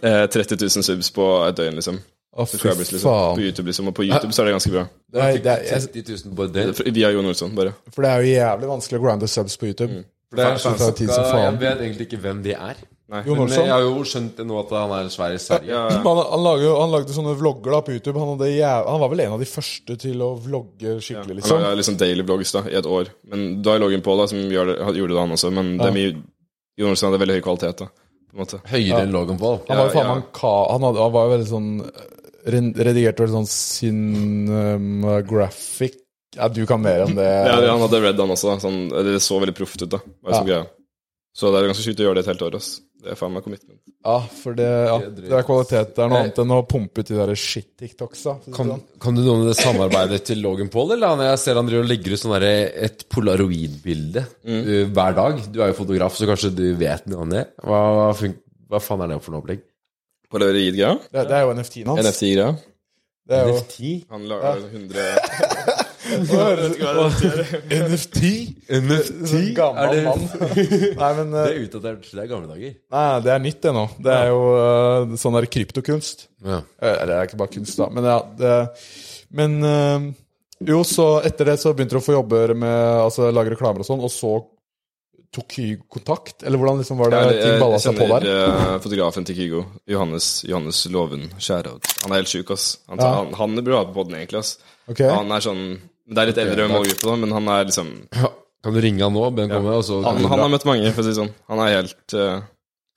eh, 30 000 subs på et døgn, liksom. Å, fy subscribers liksom, på faen. YouTube, liksom. Og på YouTube så er det ganske bra. Nei, det er, jeg, 30 000 på et døgn. Via Jon Olsson, bare. for det er jo jævlig vanskelig å grinde subs på Mm. YouTube. For det er så tar tid som Jeg faen. vet egentlig ikke hvem de er. Nei. Jon Men jeg Olsson. har jo skjønt det nå at han er svær i Sverige. Ja, Mm. Han, han, lager, jo- han lagde sånne vlogger da på YouTube. Han, hadde jæv... han var vel en av de første til å vlogge skikkelig, Han liksom. lager liksom daily vlogs da, i et år. Men da er Logan Paul da, som gjør det, han gjorde det, han også. Men det er mye, Jon Olsson hadde veldig høy kvalitet. da, på en måte. Høyere enn Logan Paul. Han var jo Ja, faen meg ja. en ka... Han, hadde, han var jo veldig sånn eh, ren- Redigerte vel sånn cinematographic Ja, du kan mer om det. <laughs> Ja, han hadde Red, han også. da, Sånn, det så veldig proft ut. da, var liksom greia. Så det er ganske sjukt å gjøre det et helt år. ass. Det er faen meg commitment. Ja, for det, ja, Det er dritt, det er kvalitet. Det er noe Nei. annet enn å pumpe ut de der shit-tiktoks. da, for å si det Kan, sånn. kan du noe om det samarbeidet til Logan Paul? Eller han, jeg ser han driver og legger ut sånn derre- et polaroid-bilde uh, hver dag. Du er jo fotograf, så kanskje du vet noe om det. Hva, hva, fun- hva faen er det for noe opplegg? På Leverid-greia? Det, det er jo NFT-en hans. NFT-greia? Det <laughs> er jo NFT? Han lager 100 <laughs> NFT? NFT? Sånn gammel Er det, mann. <laughs> Nei, men eh, det er utdatert. så Det er gamle dager. nei, det er nytt, det nå. Det er jo eh, sånn der kryptokunst. Ja. Eh, Det er ikke bare kunst, da. Men ja, det Men eh, jo, så etter det så begynte du å få jobber med Altså lage reklamer og sånn, og så tok Kygo kontakt? Eller hvordan liksom var det ting balla seg på der? eh, fotografen til Kygo. Johannes, Johannes Loven. Shoutout. Han er helt sjuk, ass. Han, tar, Ja. han, han burde ha på podden egentlig, ass. Ok. Han er sånn Det er litt eldre målgruppe, da, men han er liksom Kan du ringe han nå, Ben komme, og så kan Han, du han dra? har møtt mange, for å si det sånn. Han er helt eh,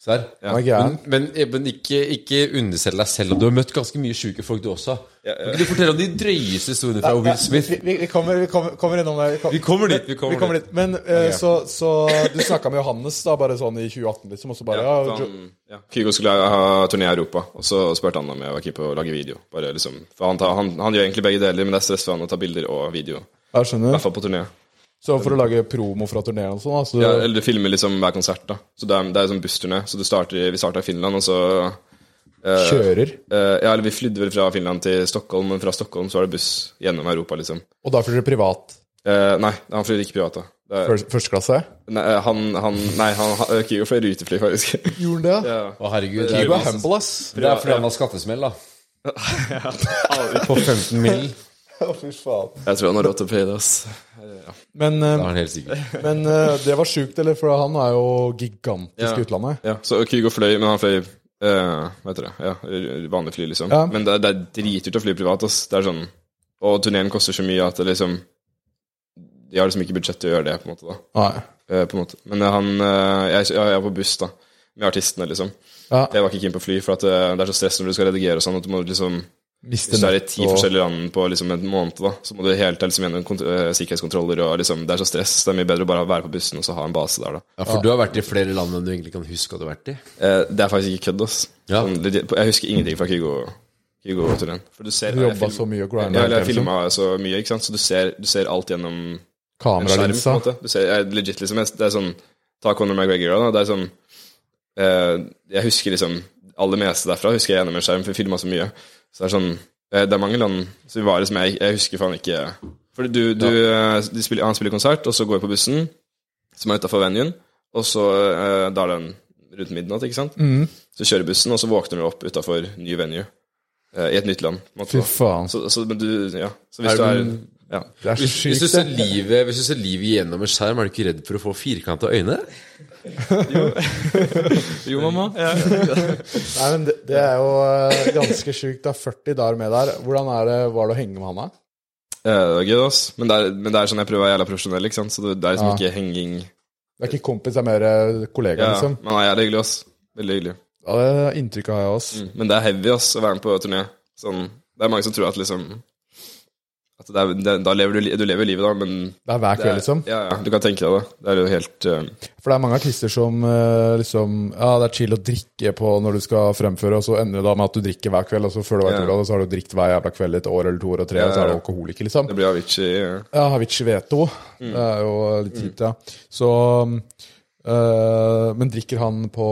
Serr? ja. Han er gæren. Men, men, men ikke, ikke underselg deg selv. Du har møtt ganske mye sjuke folk, du også. Ja, ja. Kan ikke du fortelle om de drøyeste historiene fra Will Smith? Vi, vi, vi, kommer, vi kommer, kommer innom det. Vi kom- Vi kommer dit. Vi kommer, Vi kommer dit. Men eh, så, så du snakka med Johannes da, bare sånn i 2018, liksom, og så bare ja, så jo, han, ja. Kygo skulle ha turné i Europa, og så spurte han om jeg var keen på å lage video. Bare liksom, for han, tar, han, han gjør egentlig begge deler, men det er stress for han å ta bilder og video. I jeg skjønner. hvert fall på turné. Så for å lage promo fra turneen og sånn, da, så Ja, eller du filmer liksom hver konsert, da. Så det er, det er sånn bussturné. Så du starter, i- vi starta i Finland, og så eh, kjører. eh, Ja, eller vi flydde vel fra Finland til Stockholm, men fra Stockholm så var det buss gjennom Europa, liksom. Og da flyr du privat. Eh, nei, han flyr ikke privat, da. Det er, Først- Første klasse? nei, eh, han, han, nei, han, han Kygo fløy rutefly, faktisk. <laughs> Gjorde han det? ja. Å, herregud. Kygo er humble, ass. Det er fordi han har skattesmell, da. På 15 mill. Å, Fy faen. Jeg tror han har råd til å fløye det, ass. Men, eh, Da er han helt sikker. men eh, det var sjukt, eller? For han er jo gigantisk Ja. i utlandet. Ja, så Kygo fløy, men han fløy eh, Hva heter det? Ja, vanlig fly, liksom. Ja. Men det, det er dritdyrt å fly privat. Ass. Det er sånn Og turneen koster så mye at det liksom De har liksom ikke budsjett til å gjøre det, på en måte. da Nei. Eh, på en måte. Men eh, han eh, jeg, ja, jeg er på buss, da. Med artistene, liksom. Ja. Jeg var ikke keen på fly, for at eh, det er så stress når du skal redigere og sånn. At du må liksom Mister Hvis du er i nett ti og- forskjellige land på liksom en måned, da, så må du helt liksom gjennom kont eh, sikkerhetskontroller, og liksom Det er så stress. Det er mye bedre å bare være på bussen og så ha en base der, da. Ja, For du har vært i flere land enn du egentlig kan huske at du har vært i. Eh, det er faktisk ikke kødd, ass. Ja. Sånn, legit- jeg husker ingenting fra Kygo. Kygo-turen. For du ser Du jeg jobba film- så mye og Ja, eller grinda jeg filma så mye, ikke sant? så du ser, du ser alt gjennom en skjerm. på kameralinsa. en måte. Du ser, jeg, legit, liksom, jeg, det er sånn Ta Conor McGregor, da. Det er sånn eh, Jeg husker liksom aller meste derfra husker jeg gjennom en skjerm, for vi filma så mye. Så det er sånn eh, Det er mange land som vi var i som jeg, jeg husker faen ikke For du, du eh, de spiller, Han spiller konsert, og så går vi på bussen, som er utafor venuen, og så eh, Da er den rundt midnatt, ikke sant? Mm. Så kjører bussen, og så våkner du opp utafor ny venue. eh, I et nytt land. på en måte, Fy da. faen. Så, så, men du, ja. så hvis du er ja. Det er så Hvis, hvis, du sjukt. ser det. livet, hvis du ser livet gjennom en skjerm, er du ikke redd for å få firkanta øyne? Jo, <laughs> mamma. Nei, men det, det er jo eh, ganske sjukt. Det er 40 dager med der. Hvordan er det, var det å henge med han, da? Ja, det var gøy, ass. Men det er, men det er sånn jeg prøver å være jævla profesjonell, ikke sant? så det, det er liksom Ja. ikke henging Det er ikke kompis, det er mer eh, kollega, ja, liksom. Men det er jævlig hyggelig, ass. Veldig hyggelig. Ja, det er inntrykket har jeg også. Mm. Men det er heavy, ass, å være med på turné. Sånn, det er mange som tror at liksom At det er, det, da lever du, li- du lever livet, da, men Det er hver det er, kveld, liksom. Ja, ja, du kan tenke deg det. Det er jo helt eh, For det er mange artister som eh, liksom Ja, det er chill å drikke på når du skal fremføre, og så ender det da med at du drikker hver kveld, og så før du vet Ja. ordet av det, så har du drikt hver jævla kveld i et år eller to år og tre, og så er du alkoholiker, liksom. Det Mm. blir Avicii eh. Ja, Havici Veto. Det er jo litt kjipt, ja. Så eh, Men drikker han på,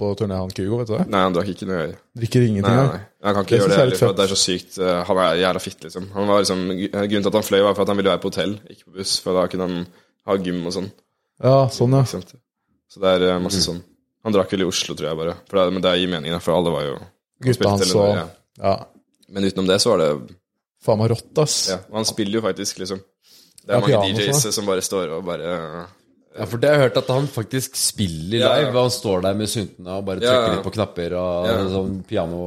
på turné, han Kygo, vet du det? Nei, han drakk ikke noe. Drikker Nei, ingenting, nei, han. nei. Han kan ikke Det gjøre synes det, jeg er heller, litt for at det er så sykt eh, Han er jævla fitt, liksom. Han var liksom Grunnen til at han fløy, var for at han ville være på hotell, ikke på buss, for da kunne han ha gym og sånn. Ja, sånn, ja. Mm. Ikke sant? Så det er eh, masse sånn. Han drakk vel i Oslo, tror jeg bare. For det, men det gir mening, da, for alle var jo Gutta hans spilte og eller noe, ja. Men utenom det så var det Faen meg rått, ass. Ja, og han spiller jo faktisk, liksom. Det er Ja, mange piano, DJs så. som bare står og bare Ja, for det har jeg hørt at han faktisk spiller Ja, ja. live. og Han står der med syntene og bare Ja, ja. trykker litt på knapper og Ja. sånn piano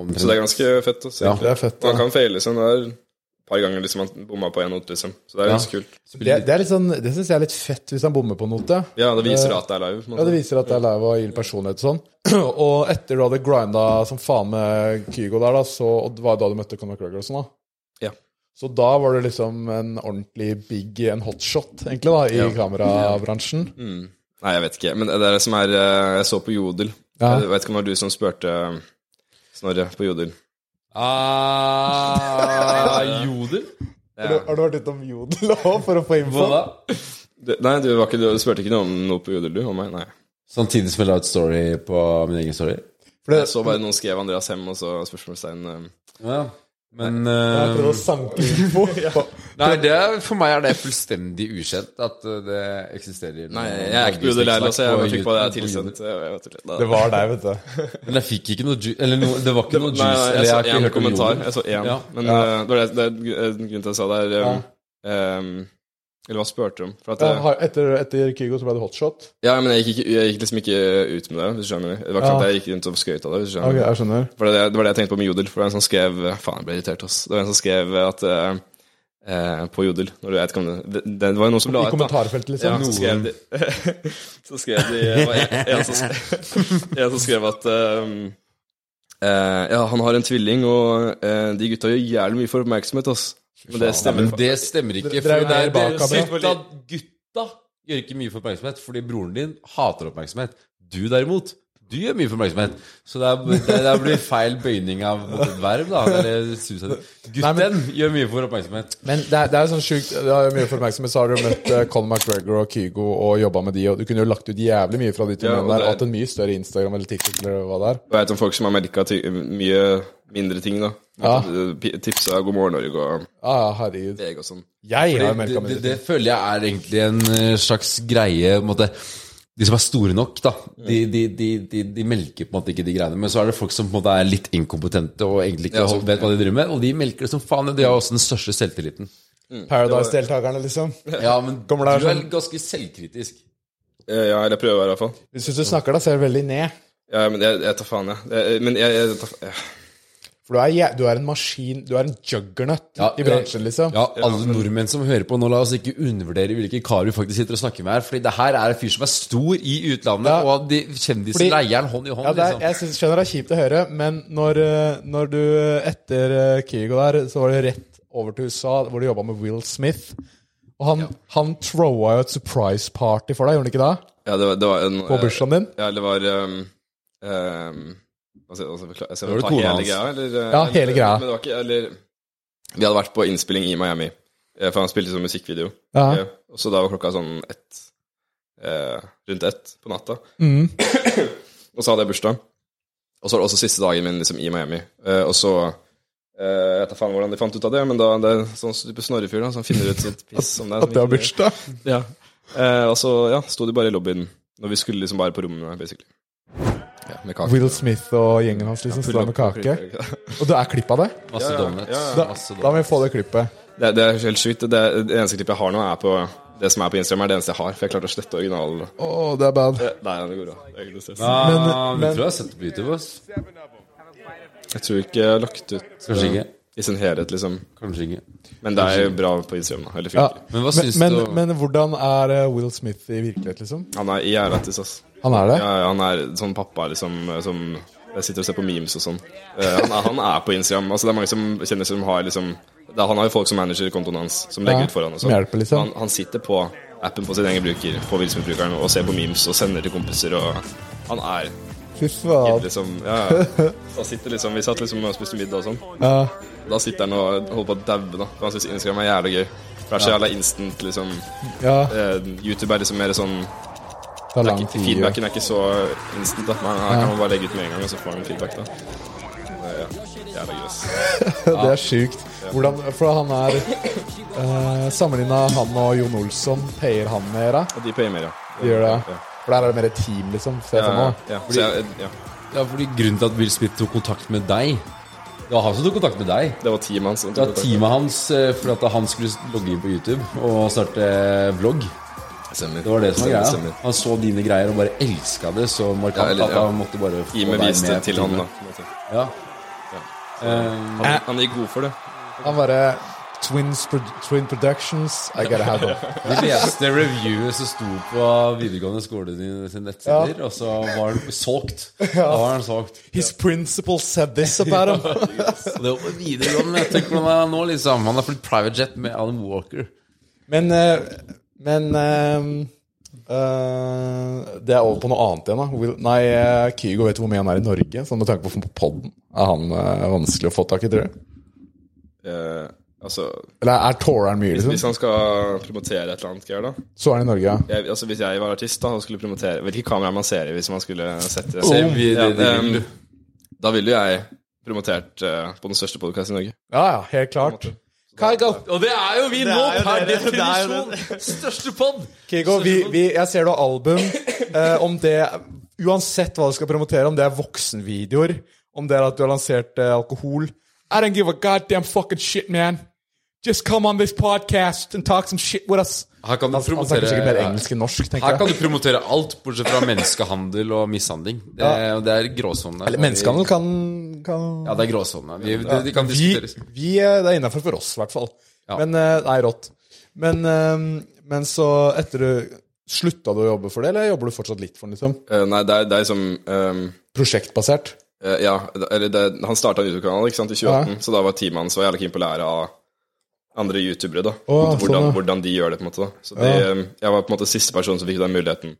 og Så det er ganske fett å se. Ja. Det er fett. Og han Da. kan feile sånn der et par ganger liksom han bomma på en note, liksom. Så det er Ja. ganske kult. Det, det, er litt sånn, det syns jeg er litt fett hvis han bommer på note. Ja, det viser at det er live. på en Ja, måte. Det viser at det er live og gir personlighet og sånn. <clears throat> Og etter du hadde grinda som faen med Kygo der, da, så, og det var jo da du møtte Conor McGregor og sånn, da. Ja. Så da var det liksom en ordentlig big en hotshot, egentlig, da, i kamerabransjen. Mm. Nei, jeg vet ikke. Men det er det som er eh, Jeg så på Jodel. Ja. Jeg vet ikke om det var du som spurte eh, Snorre på Jodel. Ah, Jodel? Har, du, har du vært utom Jodel òg, for å få info? Hva da? Du, nei, du, var ikke, du spurte ikke noe om noe på Jodel, du? Om meg? Nei. Samtidig Sånn som jeg la ut story på min egen story. For det, Jeg så bare noen skrev Andreas Hem, og så spørsmålstegn eh, Ja. Men jeg prøver eh, å sanke <laughs> info. Nei, det er, for meg er det fullstendig ukjent at eh, det eksisterer. Nei, jeg er ikke på Jodel heller, så jeg bare fikk på det jeg er tilsendt. Jeg vet ikke, da. Det var deg, vet du. <laughs> Men jeg fikk ikke noe ju Eller noe, det var ikke noe Nei, juice. nei, eller jeg har så ikke én hørt om kommentar. Jodel. Jeg så én. Ja. Men Ja. eh, det var det, det er en grunn til at jeg sa det. er, Um, em, eller hva spurte du om? For at Ja, jeg, har- Etter, etter Kygo så ble det hotshot. ja, men jeg gikk, ikke- jeg gikk liksom ikke ut med det, hvis du skjønner. Det var ikke sånn at jeg gikk rundt og skrøt av det. hvis du skjønner. Ok, jeg skjønner. For det, det var det jeg tenkte på med Jodel. For det var en som skrev Faen, jeg ble irritert, ass. Det var en som skrev at eh, eh, På Jodel når du, jeg vet ikke om det, det, det var jo noen som I la ut, da. kommentarfeltet, Ja, liksom. så skrev de <laughs> Så skrev de det var en, en, som skrev, <laughs> en som skrev at eh, eh, Ja, han har en tvilling, og eh, de gutta gjør jævlig mye for oppmerksomhet, ass. Men det stemmer. Men det stemmer ikke. Dere For er jo det er der bak det er kamera. gutta, gutta gjør ikke mye for oppmerksomhet, fordi broren din hater oppmerksomhet. Du derimot, du gjør mye for oppmerksomhet. Så det, er, det, det blir feil bøyning av et verb, da. Eller suicide. Gutten gjør mye for oppmerksomhet. Men det er, det er jo sånn sjukt Det er jo mye for oppmerksomhet. Så har du møtt eh, Colin McGregor og Kygo og jobba med de, og du kunne jo lagt ut jævlig mye fra de to Ja, og mennene der, det er- og hatt en mye større Instagram eller TikTok eller hva det er. Jeg vet om folk som har merka mye mindre ting, da. Ja. Tipsa God morgen Norge og Ja, ah, herregud. VG og sånn. Jeg har jo Det, merka det, mye. det føler jeg er egentlig en eh, slags greie på en måte, De som er store nok, da. De, de, de, de, de melker på en måte ikke de greiene. Men så er det folk som på en måte er litt inkompetente og egentlig ikke Ja, sånn. vet hva de driver med. Og de melker det som faen. De har også den største selvtilliten. Paradise-deltakerne, liksom. Ja, men du Kommer det her er sånn- ganske selvkritisk. Eh, Ja, eller prøver i hvert fall. Du syns du snakker deg selv veldig ned. Ja, men jeg, jeg tar faen, jeg. jeg. Men jeg, jeg tar faen. For du er, jæ- du er en maskin. Du er en juggernaut Ja, eh, i bransjen, liksom. Ja, alle nordmenn som hører på nå, la oss ikke undervurdere hvilke karer vi faktisk sitter og snakker med her. Fordi det her er en fyr som er stor i utlandet, Ja. og de kjendiser Fordi- leier han hånd i hånd. Ja, det er, liksom. jeg synes, skjønner det er kjipt å høre, men når, eh, når du etter eh, Kygo der, så var det rett over til USA, hvor du jobba med Will Smith. Og han, han throwa jo et surprise party for deg, gjorde han ikke det? Ja, det var, det var en, eh, På bursdagen din? Ja, det var um, um, hva sier- hva sier- hva sier- Var det ta kona hele hans? greia, eller, eh, Ja, hele eller- greia. Men det var ikke, eller Vi hadde vært på innspilling i Miami, eh, for han spilte sånn musikkvideo. Ja. Eh, Og så da var klokka sånn ett eh, Rundt ett på natta. Mm. <clears throat> Og så hadde jeg bursdag. Og så var det også siste dagen min liksom, i Miami. Eh, og så eh, Jeg vet da faen hvordan de fant ut av det, men da det er sånn type Snorrefyr da, som finner ut sånt piss som det. er, som At det var ikke- bursdag? ja. Eh, og så ja, sto de bare i lobbyen når vi skulle liksom bare på rommene, basically. Ja, med kake. Will Smith og gjengen hans liksom står med kake. Og det er klipp av det? Masse ja, ja, donuts. ja, ja. Da, Masse da må vi få det klippet. Det, det er helt sjukt. Det, det eneste klippet jeg har nå, er på det som er på Instagram, er det eneste jeg har. For jeg klarte å slette originalen. Å, det er bad. Nei, ja, det går bra. Det er ikke noe stress. Ah, Men- vi men- tror jeg har sett det på YouTube. Ass. Jeg tror ikke jeg har lagt ut Kanskje eh, ikke. i sin helhet, liksom. Kanskje ikke. Men det er jo bra på Instagram, da. Eller Ja. funker. Men hva Men, syns men, du om- men hvordan er eh, Will Smith i virkelighet, liksom? Han er jævla lættis, ass. Han er det? Ja, ja, han er sånn pappa liksom eh, som jeg sitter og ser på memes og sånn. Eh, han, er, han er på Instagram. Altså, det er mange som kjenner som har liksom det, er- Han har jo folk som manager kontoen hans, som legger Ja, ut for han og som sånn. hjelper, liksom. han, han sitter på appen på sin egen bruker, på Vilsmith-brukeren, og ser på memes og sender til kompiser og Han er Fy faen. liksom Ja, ja. Han sitter liksom Vi satt liksom og spiste middag og sånn. Ja. Da sitter han og holder på å daue, da. For han syns Instagram er jævlig gøy. For det er så jævla instant, liksom. ja. Eh, YouTube er liksom mer sånn Det er det er lang ikke, tid. ja. feedbacken er ikke så instant. Da. Man, her kan man bare legge ut med en gang, og så får man feedback. da Eh, ja. Jævla grøss. Det er sjukt. Hvordan, for han er eh, Sammenligna han og Jon Olsson, payer han mer? da? Og de payer mer, ja. Eh, De gjør det. For der er det mer et team, liksom. Ser jeg for Ja, meg. ja. Så jeg, ja. Ja, fordi Grunnen til at Will Smith tok kontakt med deg, Det var han som tok kontakt med deg. Det var teamet hans. som Det tok var kontakt. teamet hans eh, for at han skulle logge inn på YouTube og starte eh, vlogg. Stemmer. Det var det som var Stemmer, greia. stemmer. Han så dine greier og bare elska det så Ja, markant eller- at ja. han måtte bare få Teamet deg viste med på til han, da. teamet. på en måte. Ja. Eh, Han, han gikk god for det. Han bare Twins Pro Twin Productions, I gotta have them. Vi leste reviewet som sto på videregående skole din- sin nettsider, og så var den <laughs> solgt. Da var den solgt. His principal said this about him. Og det var videregående. Jeg tenker hvordan er han nå, liksom. Han har flytt private jet med Alan Walker. <laughs> Men, eh, men eh, eh, Det er over på noe annet igjen, da. Will, nei, eh, Kygo vet hvor mye han er i Norge, sånn med tanke på på podden. Er han eh, vanskelig å få tak i, tror du? Eh, altså, Eller er tåreren mye, Sånn. hvis liksom? han skal promotere et eller annet greier, da Så er han i Norge, ja. jeg, altså, Hvis jeg var artist da og skulle promotere Hvilke kameraer man ser i hvis man skulle sette Se videoer, det Oh, Ja, vil ehm, Da ville jo jeg promotert eh, på den største podkasten i Norge. Ja, ja, helt klart. Kygo, Og det er jo vi nå, er jo per det, det er jo definisjon! Største pod! Kygo vi, vi, jeg ser du har album. Eh, om det Uansett hva du skal promotere, om det er voksenvideoer, om det er at du har lansert eh, alkohol I don't give a goddamn fucking shit, man. Just come on this podcast and talk some shit with us. Her kan du Han snakker sikkert mer promotere engelsk enn norsk, Her tenker kan jeg. du promotere alt, bortsett fra menneskehandel og mishandling. Det, er- det er gråsone. Eller menneskehandel kan, kan... Ja, det er gråsone. Vi, det, de kan vi, diskuteres. vi, eh, Det er innafor for oss, i hvert fall. Ja. Men eh, Nei, rått. Men, eh, men så, etter du Slutta du å jobbe for det, eller jobber du fortsatt litt for den? liksom? Eh, nei, det er, det er som ehm, Prosjektbasert? Eh, ja, eller det, han starta en YouTube-kanal ikke sant, i 2018, så da var teamet hans så jævlig keen på å lære av andre youtubere, da. Å, hvordan, sånn, ja. hvordan de gjør det, på en måte. da. Så de, eh, Jeg var på en måte siste person som fikk den muligheten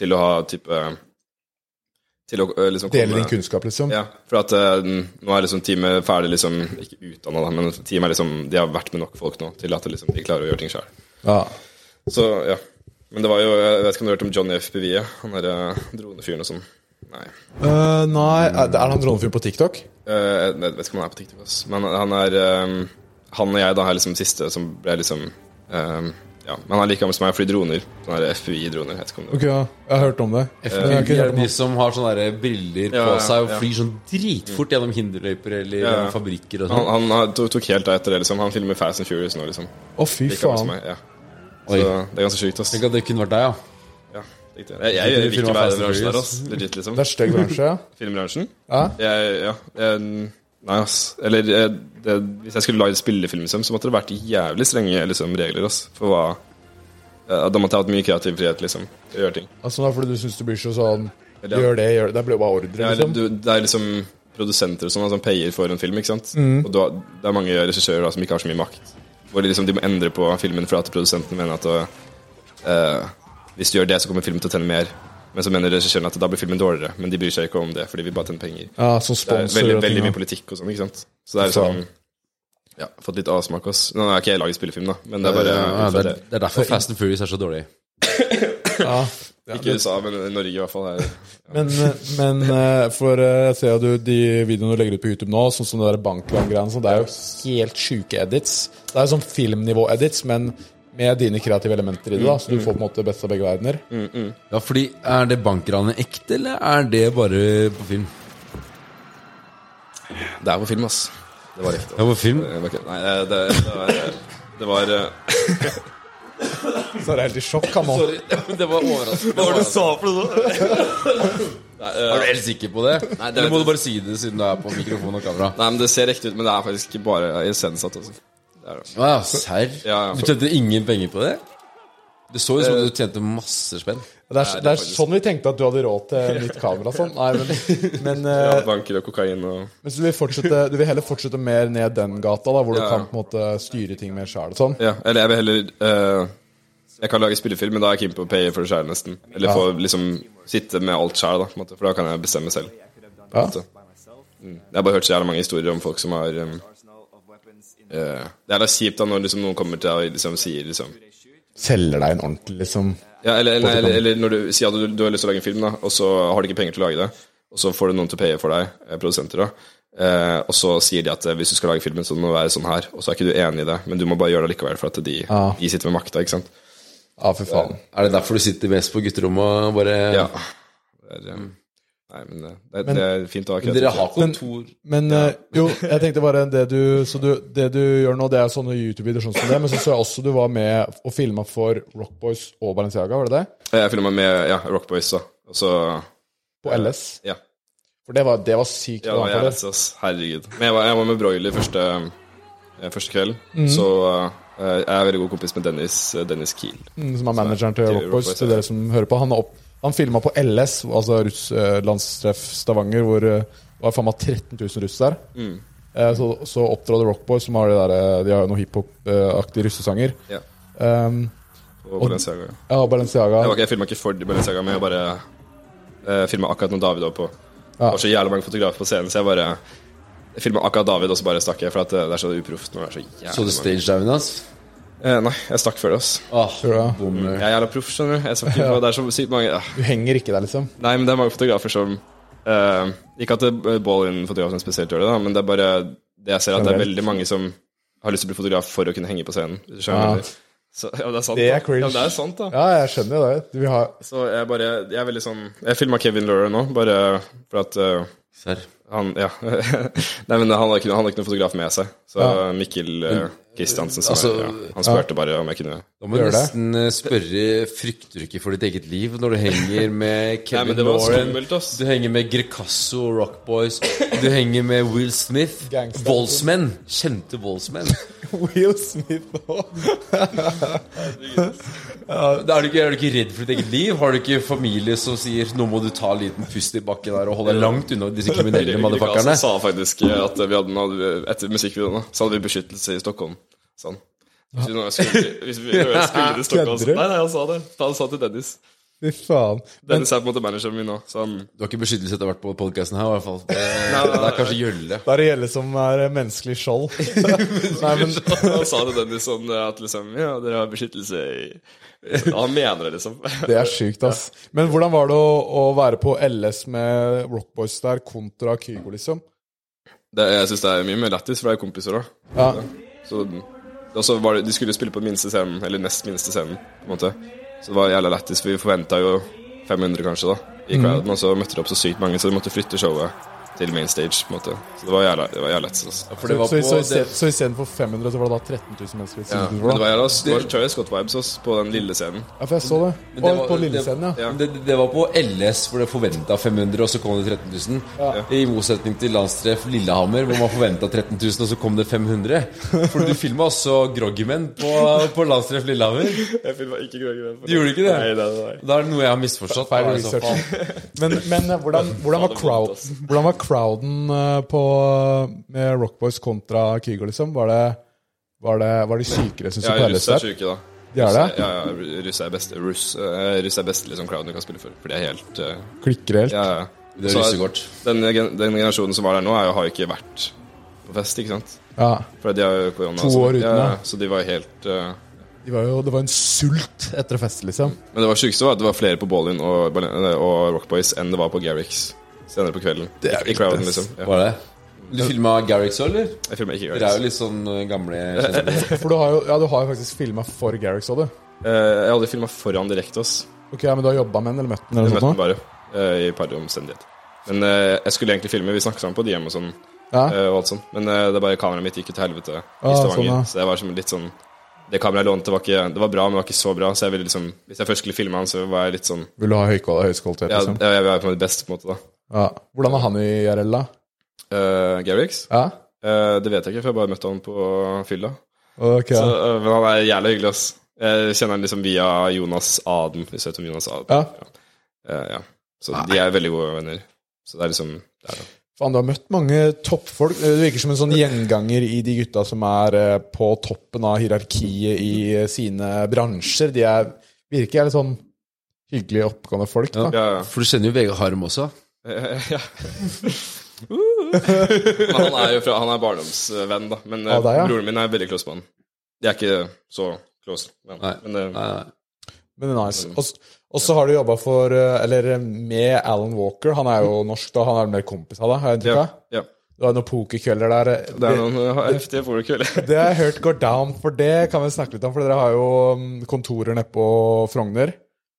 til å ha type eh, Til å eh, liksom Dele din kunnskap, liksom? Ja, for at eh, nå er liksom teamet ferdig liksom Ikke utdanna, da, men teamet er liksom De har vært med nok folk nå til at liksom, de klarer å gjøre ting sjøl. Ja. Så ja. Men det var jo Jeg vet ikke om du har hørt om Johnny FPV? ja? Han derre dronefyren og sånn. Nei. Eh, nei, er det han dronefyren på TikTok? Eh, jeg vet ikke om han er på TikTok, ass. men han er ehm, Han og jeg da er liksom siste som ble liksom ehm, Ja, men han er like gammel som meg og flyr droner. Sånne her FPI-droner. Jeg vet ikke om det Ok, ja, jeg har hørt om det. Eh, Men jeg har ikke Eh, Vi hørt er om de han. som har sånne der briller Ja, på ja, seg og ja. flyr sånn dritfort gjennom hinderløyper eller Ja, ja. fabrikker og Han, sånn. han har- tok, tok helt av etter det, liksom. Han filmer Fast and Furious nå, liksom. Å, fy Like gammel som faen. meg. Ja. Så Oi. det er ganske sjukt, ass. Tenk at det kunne vært deg, ja. Ja, riktig. Jeg, jeg, jeg vil Filmer ikke være i Fast den and bransjen der, Furious. ass. Legit, liksom. Det er <laughs> stygg bransje, ja. Filmbransjen? Ja. Jeg, ja. Jeg, nei, ass. Eller eh, det, hvis jeg skulle lagd spillefilm, liksom, så måtte det vært jævlig strenge liksom, regler, ass. For hva eh, Da måtte jeg hatt mye kreativ frihet, liksom. til å Gjøre ting. Altså, det er fordi du syns det blir så sånn Eller, ja. Gjør det, gjør det. Det blir jo bare Ja, ordre, eller liksom. du, det er liksom produsenter og sånn da, som payer for en film, ikke sant? Og du har, det er mange regissører da, som ikke har så mye makt. Hvor de liksom, de må endre på filmen fordi at produsenten mener at øh, hvis du gjør det, så kommer filmen til å tjene mer. Men så mener regissøren at da blir filmen dårligere. Men de bryr seg ikke om det, for de vil bare tjene penger. Ja, som Det er sponsor veldig, og veldig ting. mye politikk og sånn, ikke sant? Så det er liksom ja, fått litt avsmak, ass. Nå har ikke jeg laget spillefilm, da, men det er bare Ja, det, er, det er derfor Fast and Furious er så dårlig. Ja. Ikke USA, men Norge i hvert fall. Er, Men, eh, men eh, for eh, jeg ser jo du, de videoene du legger ut på YouTube nå, sånn som det der bankland-greiene, sånn, det er jo helt sjuke edits. Det er jo sånn filmnivå-edits, men med dine kreative elementer i det, da, så du får på en måte best av begge verdener. Ja, fordi Er det bankranet ekte, eller er det bare på film? det er på film, ass. Det var riktig. Ja, på film. Det var ikke- Nei, det, det, det var, det var eh, Så er det helt i sjokk, han nå. Det var overraskende. Hva var det du sa <laughs> for noe? Er du helt sikker på det? øh, Nei, det- eller må du bare si det siden du er på mikrofon og kamera? Nei, men Det ser riktig ut, men det er faktisk ikke bare iscenesatt. Altså. Det er det. Å ja, serr? Ja, ja. Øh. Du tjente ingen penger på det? Det så jo ut som du tjente masse spenn. Det er, det er sånn vi tenkte at du hadde råd <laughs> til nytt kamera og sånn. Nei, men, <laughs> men, eh, Banker og kokain og men så du vil, fortsette, du vil heller fortsette mer ned den gata, da, hvor du Ja. kan på en måte styre ting mer sjæl og sånn. Ja, eller jeg vil heller eh, Jeg kan lage spillefilm, men da er jeg keen på å paye for det sjæl, nesten. Eller få liksom sitte med alt sjæl, da, på en måte, for da kan jeg bestemme selv. Ja. Så, mm. Jeg har bare hørt så jævla mange historier om folk som har um, eh, Det er da kjipt da når liksom, noen kommer til deg og liksom, sier liksom Selger deg en ordentlig, liksom. Ja, eller, eller, eller, eller når du sier at du, du har lyst til å lage en film, da, og så har du ikke penger til å lage det, og så får du noen til å paye for deg, eh, produsenter, da. Eh, og så sier de at eh, hvis du skal lage filmen, så må det være sånn her, og så er ikke du enig i det, men du må bare gjøre det likevel, for at de, Ja. de sitter med makta, ikke sant. Ja, for faen. Er det derfor du sitter mest på gutterommet og bare Ja. Det er, eh, Nei, men eh, det, det er fint å ha kreativ- Dere har kontor Men eh, jo, jeg tenkte bare det du, Så du, det du gjør nå, det er sånne YouTube-videoer sånn som det, men så så jeg også du var med og filma for Rock Boys og Balenciaga, var det det? Jeg filma med ja, Rock Boys, da. Og så På LS. Ja. For det var, det var sykt. Ja, bra det var for jævlig, det. ass. Herregud. Men jeg var, jeg var med Broiler første, eh, første kveld. Så eh, jeg er veldig god kompis med Dennis, eh, Dennis Kiel. Mm, som er manageren til Til Rock Boys, Rock Boys, til ja. dere som hører på. Han, er opp, han filma på LS, altså russlandstreff Stavanger, hvor eh, det var faen meg 13 000 russ der. Mm. Eh, Så, så opptrådte Rock Boys, som har det der, eh, de har jo noen hiphop-aktige russesanger. Ja. Um, Og Balenciaga. Jeg, ja, Balenciaga. var ikke- jeg filma ikke for Balenciaga, men jeg bare uh, filma akkurat når David var på. Det var så jævlig mange fotografer på scenen, så jeg bare jeg filma akkurat David, og så bare stakk jeg. For at eh, det er så uproft. når det er Så jævlig Så du mange. stagedown hans? Eh, Nei, jeg stakk før det, ass. Åh, Tror jeg. bommer. Jeg er jævla proff, skjønner du. Jeg <laughs> skal ikke på, det er så sykt mange ah. Du henger ikke der, liksom. Nei, men det er mange fotografer som eh, Ikke at det ball in fotografen spesielt gjør det, da, men det er bare det jeg ser, at det er Generelt. veldig mange som har lyst til å bli fotograf for å kunne henge på scenen. hvis du skjønner Ja. hva jeg mener. Så, ja, det er sant. Det er da. cringe. Ja, det er sant, da. Ja, jeg skjønner jo det. Vi har Så jeg bare Jeg er veldig sånn Jeg filma Kevin Laurer nå, bare for at eh, Serr. han Ja. <laughs> Nei, men han har ikke, han har ikke noen fotograf med seg, så Mikkel eh, Kristiansen, som altså, er, ja, han spurte bare om jeg kunne Da må du Gjør det. nesten eh, spørre Frykter du ikke for ditt eget liv når du <laughs> henger med Nei, Kevin men det var Lauren? skummelt, ass. Du henger med Grecasso og Rock Boys. Du henger med Will Smith. Gangster. Voldsmenn. Kjente voldsmenn. Will Smith nå. Da Er du, ikke, er du ikke redd for ditt eget liv? Har du ikke familie som sier 'nå må du ta en liten pust i bakken her og holde deg langt unna disse <laughs> kriminelle Kristiansen motherfuckerne'? sa faktisk eh, at vi hadde, hadde etter musikkvideoen da, så hadde vi beskyttelse i Stockholm. Sånn. Hvis vi, nå skulle, til- hvis vi nå skulle til Stockholm Kødder du? så, Nei, nei, han sa det. Han sa til Dennis. Fy faen. Men Dennis er på en måte manageren min nå. Så han, Du har ikke beskyttelse etter å ha vært på podkasten her, i hvert fall. Det, nei, det er kanskje gjølle. da er det Gjelle som er eh, menneskelig <laughs> skjold. Nei, men han sa til Dennis sånn at liksom Ja, dere har beskyttelse i Han mener det, liksom. Det er sjukt, ass. Men hvordan var det å, å være på LS med Rockboys der kontra Kygo, liksom? Det, jeg syns det er mye mer lættis, for det er jo kompiser òg. Ja, Så og så var det, De skulle spille på den minste scenen, eller nest minste scenen, på en måte. Så det var jævla lættis. for Vi forventa jo 500, kanskje, da, i crowden. Og så møtte det opp så sykt mange, så de måtte flytte showet til main stage, på en måte. Så det var jævla, det var jævla lættis. Altså. For så, det var så, så, på i sted- så istedenfor 500, så var det da 13 000 mennesker? Ja, siden men du det var da. var jævla det var Travis Scott-vibes ass, på den lille scenen. Ja, for jeg så det. Men det Og var- på Lillescenen, ja. ja. Det, det var på LS, hvor det forventa 500, og så kom det 13 000. I motsetning til Landstreff Lillehammer, hvor man forventa 13 000, og så kom det 500. For du filma også Groggymen på, på Landstreff Lillehammer. Jeg filma ikke Grøngrønn. Du gjorde ikke det? Nei, nei, nei. Da er det noe jeg har misforstått. Feil da, i så fall. research. <laughs> Men, men eh, hvordan, hvordan, var det var vondt, crowd, ass. hvordan var crowden eh, på, eh, med Rockboys kontra Kygo, liksom? Var det, var det, var de sykere, syns du, Ja, på LS russ er der? sjuke, da. De er det? Ja, ja, russ er best, russ, eh, russ er best liksom, crowden du kan spille for. For de er helt eh, Klikker helt? Ja, ja. Det er Så russekort. Den, gen- den generasjonen som var der nå, er jo, har jo ikke vært på fest, ikke sant? Ja. For de har jo korona. To og sånn. år uten, ja. ja. Så de var helt eh, De var jo, det var en sult etter fest, liksom. Men det var sjukeste var at det var flere på Ballin og, eh, og Rockboys enn det var på Garrix senere på kvelden. Det er I crowden, vilt, ass. liksom. Ja. Var det? Du filma Garrick òg, eller? Jeg filma ikke Dere er Garrix. jo litt sånn eh, gamle kjenninger. For du har jo, ja, du har jo faktisk filma for Garrick, så du. Eh, jeg har aldri filma foran direkte, ass. Ok, ja, men du har jobba med den, eller møtt den? eller noe Jeg møtte sånt den nå? bare eh, i et par omstendigheter. Men eh, jeg skulle egentlig filme, vi snakket sammen på DM og sånn. Ja. eh, og alt sånt. Men eh, det er bare kameraet mitt gikk jo til helvete i Ah, Stavanger. sånn, ja. Så jeg var som litt sånn Det kameraet jeg lånte, var ikke Det var bra, men det var ikke så bra. Så jeg ville liksom Hvis jeg først skulle filme han, så var jeg litt sånn Vil du ha høykål- høyskvalitet, Ja, liksom? jeg, jeg var på mitt beste, på en måte, da. Ja. Hvordan er han i IRL, da? Eh, Garrix? Ja? Eh, det vet jeg ikke, for jeg bare møtte han på fylla. Ok. Så, eh, men han er jævlig hyggelig, ass. Jeg kjenner han liksom via Jonas Aden, hvis du vet om Jonas Aden. Ja. Eh, ja. Så de er veldig gode venner. Så det er liksom det er det. Faen, du har møtt mange toppfolk. Du virker som en sånn gjenganger i de gutta som er eh, på toppen av hierarkiet i eh, sine bransjer. De er, virker litt sånn hyggelige, oppegående folk, da. Ja, ja. For du kjenner jo Vegard Harm også. Eh, <laughs> ja. <laughs> Men han er jo fra, han er barndomsvenn, da. Men eh, Av deg, ja? broren min er veldig close med han. De er ikke så close, men, Nei. men eh, Nei, nei. Men det er nice. Mm. Og s- Og så har du jobba for eh, Eller med Alan Walker. Han er jo norsk, da. Han er mer kompis av deg, har jeg inntrykk Mm. ja, av. ja. Du har noen pokerkvelder der. eh, Det er noen eh, heftige pokerkvelder. Det jeg har hørt går down, for det kan vi snakke litt om. For dere har jo mm, kontorer nede på Frogner.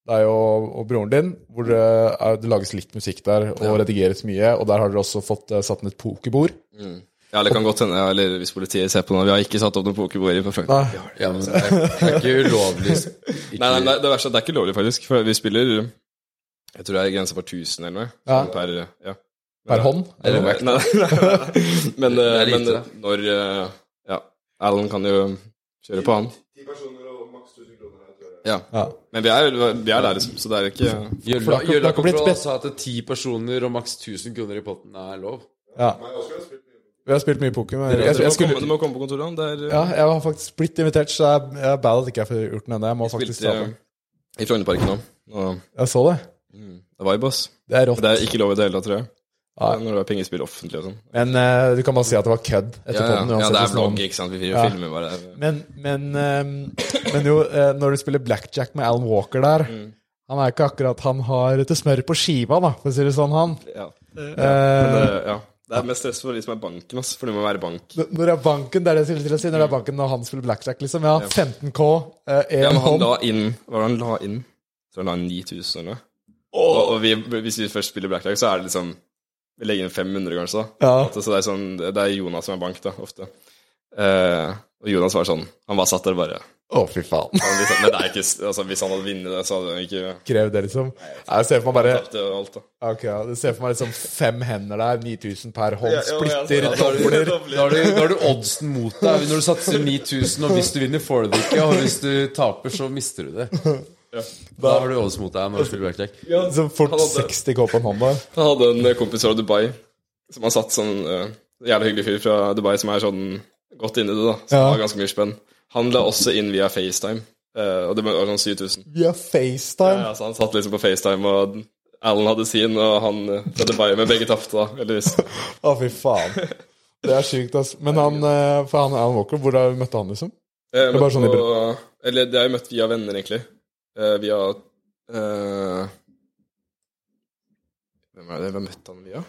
deg og, og broren din, hvor det, er, det lages litt musikk der og redigeres mye. Og der har dere også fått eh, satt ned et pokerbord. <laughs> Ja, det kan godt hende, ja, eller hvis politiet ser på noe. Vi har ikke satt opp noen pokerbord på Frank. Nei. Vi har det. Ja, men det er, det er ikke ulovlig. Ikke, Nei, nei, nei, det verste er at det er ikke lovlig, faktisk. For vi spiller Jeg tror det er grensa for 1000 eller noe. Ja. sånn Per, ja. Per hånd. Nei, Eller, nei, nei, nei. <laughs> Men, Det er eh, lite, men da. når eh, Ja, Alan kan jo kjøre på han. Ja. Ja. Men vi er, vi er der, liksom, så det er ikke Gjølla det har ikke- det Gjølla har ikke blitt Kontroll spes- sa at ti personer og maks 1000 kroner i potten er lov. Ja. Vi altså, har spilt mye poker. Men jeg, jeg, Du må, skulle, komme, du må komme på kontoret. Det er eh, ja, jeg har faktisk blitt invitert, så jeg, jeg er bad at ikke jeg får gjort den ennå. Jeg må faktisk spilt ta i, den. i Frognerparken nå. Og Jeg så det. det er vibe, ass. Det er rått. Det er ikke lov i det hele tatt, tror jeg. Nei. Når det er pengespill offentlig og sånn. Men eh, du kan bare si at det var kødd etter Ja, ja. podden, ja, uansett det er hvordan noen- vlogg, ikke sant. Vi Ja. filmer bare det. Men, men, eh, men jo, eh, når du spiller blackjack med Alan Walker der Mm. Han er ikke akkurat Han har til smør på skiva, da, for å si det sånn, han. Ja. Eh, Men, eh, ja. Det er mest stress for de som er banken, ass. For det må være bank. N- Når det er banken, det er det jeg skulle til å si. Når det er banken når han spiller blackjack, liksom. Ja, 15K, én Ja, men han hånd. la inn Hva var det han la inn? Så han la inn 9000 eller noe. Og, og vi, hvis vi først spiller blackjack, så er det liksom Vi legger inn 500, kanskje. da. Ja. Så det er, sånn, det er Jonas som er bank, da, ofte. Eh, og Jonas var sånn Han bare satt der og bare Å, fy faen. han, hvis, han, men det er ikke, altså, hvis han hadde vunnet det, så hadde han ikke Krev det, liksom. Jeg ser for meg bare tapt det og alt, da. Ok, ja, jeg ser for meg liksom fem hender der, 9000 per hånd, Ja, ja, ja, ja, splitter, ja, ja, ja, dobler. Da har, du, da har du oddsen mot deg når du satser 9000, og hvis du vinner, får du det ikke, og hvis du taper, så mister du det. Da har du odds mot deg når du spiller blackjack. Så liksom fort Han hadde- 60K på en hånd der. Jeg hadde en kompis fra Dubai som har satt sånn uh, Jævlig hyggelig fyr fra Dubai som er sånn godt inni det, da. Som Ja. har ganske mye spenn. Han la også inn via FaceTime, eh, og det var sånn 7000. Via FaceTime. Ja, så han satt liksom på FaceTime, og Alan hadde sin, og han eh, fra Dubai med begge tapte, da. Heldigvis. Å, fy faen. Det er sykt, ass. Men han, eh, for han Alan Walker, hvor da møtte han, <laughs> liksom? Jeg bare møtte sånn i på, Eh, Eller det har jeg møtt via venner, egentlig. Eh, via eh, Hvem er det vi har møtt han via?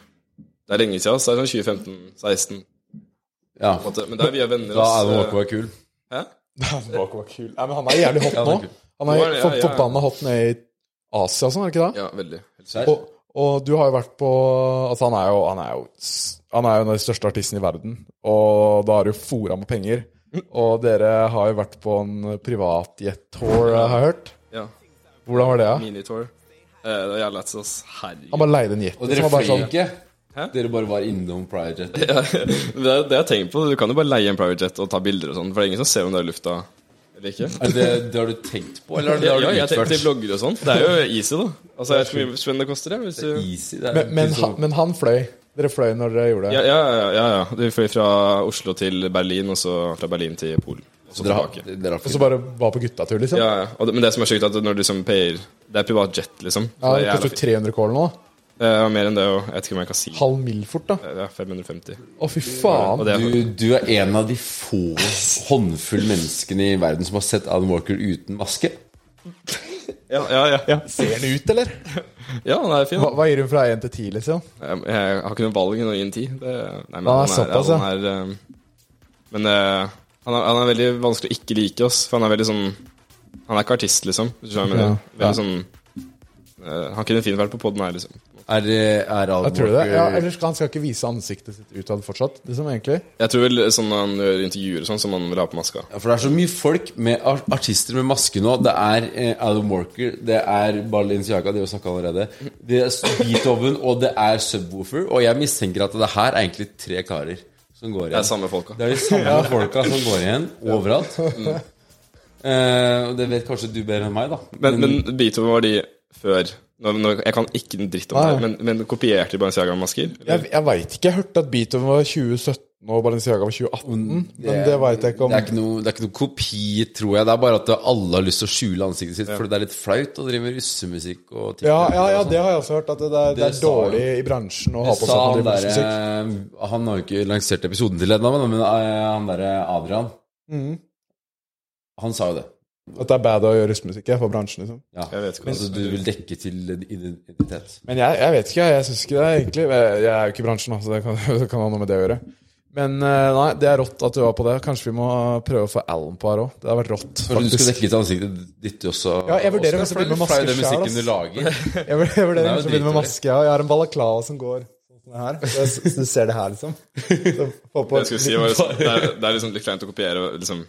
Det er lenge siden, så det er sånn 2015-16. Ja, på en måte. Men det er via venner. da ass. er det nok å være kul. Hæ? Alan Walker var kul. Nei, men han er jævlig hot Ja, nå. han er kul. Han er Nå er det- ja, for- ja, ja. forbanna hot ned i Asia og sånn, er det ikke det? Ja, veldig. Der. Og, og du har jo vært på Altså, han er jo Han er jo, s- han er jo en av de største artistene i verden, og da har du jo fora med penger. Mm. Og dere har jo vært på en privatjet-tour, har jeg hørt. Ja. Hvordan var det? da? Minitour. Eh, det var jævlig lættis, ass. Herregud. Han bare leide en jet. Og som dere var bare fløy sånn, ikke. Hæ? Dere bare var innom Pride Jet. Det er det jeg tenker på. Du kan jo bare leie en private jet og ta bilder og sånn, for det er ingen som ser om du er i lufta eller ikke. Er det det har du tenkt på, eller er det det Ja, har du jeg tenker til utført? blogger og sånn. Det er jo easy, da. Altså, jeg vet ikke hvor mye spenn det koster, jeg. Hvis du Easy, det er liksom- men, men, ikke han, så- men han fløy. Dere fløy når dere gjorde ja, det. ja, ja, ja, ja. Du fløy fra Oslo til Berlin, og så fra Berlin til Polen. Og så Dere har, tilbake. dere har Og så bare var på guttatur, liksom. Ja, Ja, ja. Og det, men det som er sjukt, er at når du liksom payer Det er privat jet, liksom. Så det det koster er jævla jo fint. 300 kål nå. da. Eh, mer enn det, og jeg vet ikke om jeg kan si Eh, det. Halv mil fort, da. er 550. Å, fy Og faen. det er Du, du er en av de få håndfull menneskene i verden som har sett Alan Walker uten maske. Ja, ja, ja. Ja, Ser den ut, eller? ja han er fin. Hva, hva gir hun fra 1 til 10, liksom? Jeg, jeg har ikke noe valg når jeg gir en ti. Det, nei, men Nei, han er, såpass, ja. han er eh, Men eh, han, er, han er veldig vanskelig å ikke like oss, for han er veldig sånn Han er ikke artist, liksom. Hvis du skjønner hva jeg mener. Ja. Veldig sånn eh, Han kunne fint vært på poden her, liksom. Er, eh, er Alan Jeg tror det. Walker Ja, ellers skal han skal ikke vise ansiktet sitt utad fortsatt, liksom, egentlig. Jeg tror vel sånn når han gjør intervjuer og sånn, som han vil ha på maska. Ja, For det er så mye folk med ar- artister med maske nå. Det er eh, Alan Walker, det er Balenciaga, de har snakka allerede. Det er Beethoven, og det er Subwoofer. Og jeg mistenker at det her er egentlig tre karer som går igjen. Det er samme folka. Det er de samme folka som går igjen overalt. Mm. Eh, og det vet kanskje du bedre enn meg, da. Men, men Beethoven var de før nå, nå, Jeg kan ikke en dritt om det, Nei. her, men, men kopierte de Balenciaga-masker? eller? Jeg, jeg veit ikke. Jeg hørte at Beethoven var 2017 og Balenciaga var 2018, men det veit jeg ikke om. Det Mm, er ikke, noe, det er ikke noe kopi, tror jeg. Det er bare at alle har lyst til å skjule ansiktet sitt, for det er litt flaut å drive med russemusikk og TikTok Ja, ja, ja, og sånn. det har jeg også hørt. At det, det, er, det Det er sa dårlig i bransjen å ha på seg sa at man han driver med der, musikk. eh, Han har jo ikke lansert episoden til ennå, men eh, han derre Adrian Han sa jo det. Mm. At det er bad å gjøre russmusikk ja, for bransjen, liksom. Ja. Jeg vet ikke hva altså, det du vil dekke til identitet. <laughs> Men jeg, jeg vet ikke, jeg, jeg syns ikke det, egentlig. Jeg jeg er jo ikke i bransjen, da, så det kan, det kan ha noe med det å gjøre. Men eh, nei, det er rått at du var på det. Kanskje vi må prøve å få Alan på her òg. Det har vært rått. Kanskje du faktisk. <laughs> skulle dekke litt ansiktet ditt også? Ja, jeg Oscar, vurderer om jeg skal for begynne det er jo med maske den musikken selv, du lager. <laughs> Jeg vur- jeg vurderer Den er jo liksom kanskje å begynne med dritdårlig. maske. Ja. Jeg har en balaklava som går sånn her. Så jeg s- du ser det her, liksom. Så få på Jeg skulle si, var liksom, det, er, det er liksom litt kleint å kopiere liksom.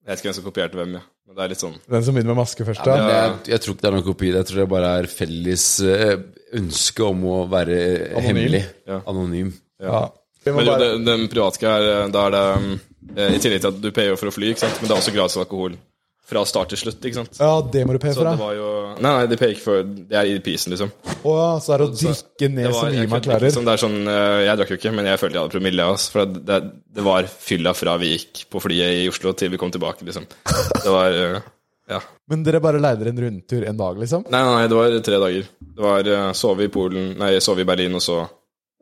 Jeg vet ikke hvem som kopierte hvem, ja. men det er litt sånn <laughs> Den som begynner med maske først, ja. Men jeg, jeg tror ikke det er noen kopi. Jeg tror det bare er felles eh, ønske om å være Anonym. hemmelig. Ja. Anonym. ja. Vi må Men jo, bare, den, den privatgreia er Da er det um, eh, I tillegg til at du payer jo for å fly, ikke sant? men det er også gratis alkohol fra start til slutt. ikke sant? ja, det må du pay Så for, det ja. var jo Nei, nei, de payer ikke for Det er i prisen, liksom. Å ja, så er det å drikke ned Det så var, mye jeg, man klarer. liksom, det er sånn, eh, jeg drakk jo ikke, men jeg følte jeg hadde promille. ass, for det, det, det var fylla fra vi gikk på flyet i Oslo til vi kom tilbake, liksom. Det var eh, Ja. Men dere bare leide en rundtur en dag, liksom? Nei, nei, nei, det var tre dager. Det var eh, sove i Polen Nei, sove i Berlin, og så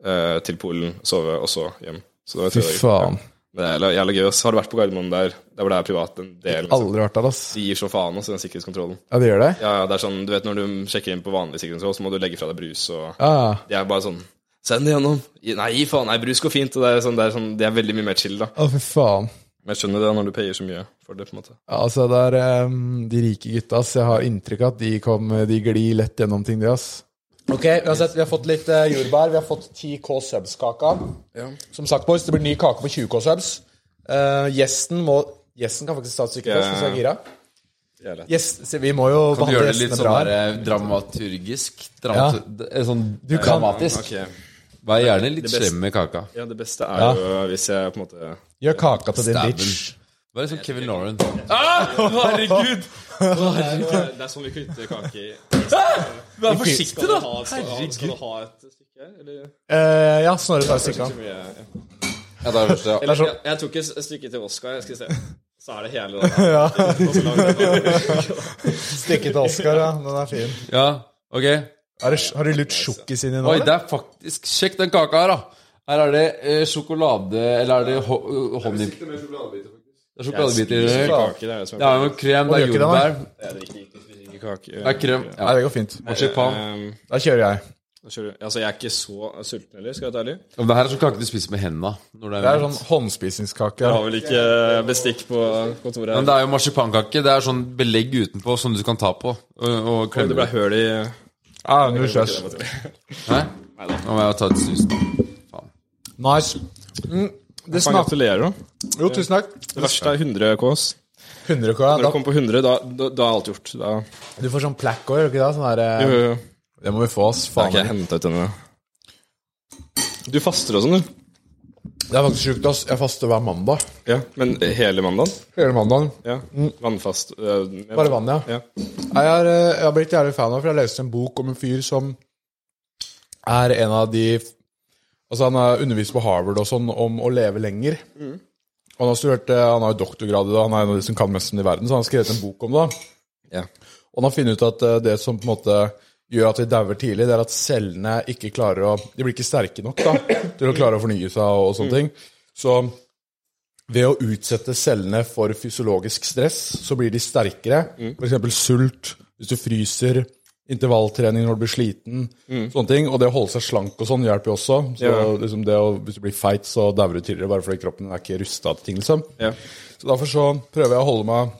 eh, til Polen, sove, og så hjem. Så det var Fy tre dager. faen. Men Det er jævla- jævla gøy. ass. Har du vært på Gardermoen der? Der hvor det er privat en del? Liksom. Aldri vært der, ass. De gir så faen også, den sikkerhetskontrollen. Ja, det gjør det? Ja, ja, det er sånn, du vet Når du sjekker inn på vanlig sikkerhetskontroll, så må du legge fra deg brus og Ja, ja. De er bare sånn Send det gjennom! I- Nei, gi faen! Nei, brus går fint! Og det er sånn, det er sånn, de er veldig mye mer chill, da. Å, fy faen. Men jeg skjønner det når du payer så mye for det, på en måte. Ja, altså, det er ehm, de rike gutta, ass. Jeg har inntrykk av at de, kom, de glir lett gjennom ting, de, ass. Ok, uansett, vi har fått litt eh, jordbær. Vi har fått 10K subs-kaka. Som sagt, boys, det blir ny kake på 20K subs. Eh, gjesten må Gjesten kan faktisk ta et stykke Ja, først, hvis du er gira. Det er lett. Gjest- se, vi må jo Kan du behandle gjøre det litt gjestene sånn bra. der, her. eh, dramaturgisk? Dramat eh, Sånn kan- dramatisk. Ok. Vær gjerne litt beste- slem med kaka. Ja, det beste er jo eh, hvis jeg på en måte Gjør kaka til din Dæven. bitch. Vær litt sånn Kevin Lauren. Ah, herregud! Det er sånn vi kutter kake i. <laughs> Vær forsiktig, da! Skal Herregud. du ha et stykke her, eller? Eh, ja, Snorre tar et stykke <laughs> av. Ja, da er sånn- det første, ja. Eller, jeg, jeg tok et stykke til Oskar. Jeg skal se. Så er det hele den her. Og <laughs> så <laughs> lager jeg den. Stikket til Oskar, ja. Den er fin. ja. Ok. Er det, har du lurt sjokkis inni nå? Oi, eller? det er faktisk Sjekk den kaka her, da. Her er det eh, sjokolade Eller er det ho eh, honning Det er liksom- sjokoladebiter i det. Kake, det er det som Det er jo krem, det er gjør ikke det, da? jordbær, er kake. det er krem Ja, ja. det går fint. Marsipan. Ehm, Da kjører jeg. da kjører du- Altså, jeg er ikke så sulten heller, skal jeg være ærlig. Ja, men Det her er sånn kake du spiser med hendene. Når det Det er er ment. sånn håndspisingskake. Jeg ja. har vel ikke eh, bestikk på Men kontoret. her. det er jo marsipankake. Det er sånn belegg utenpå som du kan ta på og, og det klemme. ble høl i Ja, null stress. Hæ? Nå må jeg ta et snus, da. Faen. Nice. Mm, det Faen, smaker Gratulerer, da. Jo, tusen takk. Det verste er 100 KS. 100 K. ja, Når du Da, kommer på 100, da, da, da er alt gjort. Da du får sånn plack òg, gjør du ikke det? Sånn der, eh, jo, jo. det må vi få oss. Faen, Faen. ikke jeg hentet ut denne. Du faster og sånn, du. Det er faktisk sjukt, ass. Jeg faster hver mandag. Ja, Men hele mandagen? Hele mandagen. Ja. Vannfast. Mm. eh, Bare vann, ja. Ja. Nei, Jeg har, eh, jeg har blitt jævlig fan av, for jeg leste en bok om en fyr som er en av de Altså, han har undervist på Harvard og sånn om å leve lenger. Og han har studert, eh, han har jo doktorgrad i det, han er en av de som kan mest om det i verden, så han har skrevet en bok om det. Ja. Og han har funnet ut at eh, det som på en måte gjør at vi dauer tidlig, det er at cellene ikke klarer å De blir ikke sterke nok da, til å klare å fornye seg og, og Mm. sånne ting. Så ved å utsette cellene for fysiologisk stress, så blir de sterkere. Mm. For F.eks. sult, hvis du fryser, intervalltrening når du blir sliten. sånne ting. Og det å holde seg slank og sånn hjelper jo også. Så Mm. Ja. liksom det å, Hvis du blir feit, så dauer du tidligere, bare fordi kroppen er ikke rusta til ting. liksom. Ja. Så derfor så prøver jeg å holde meg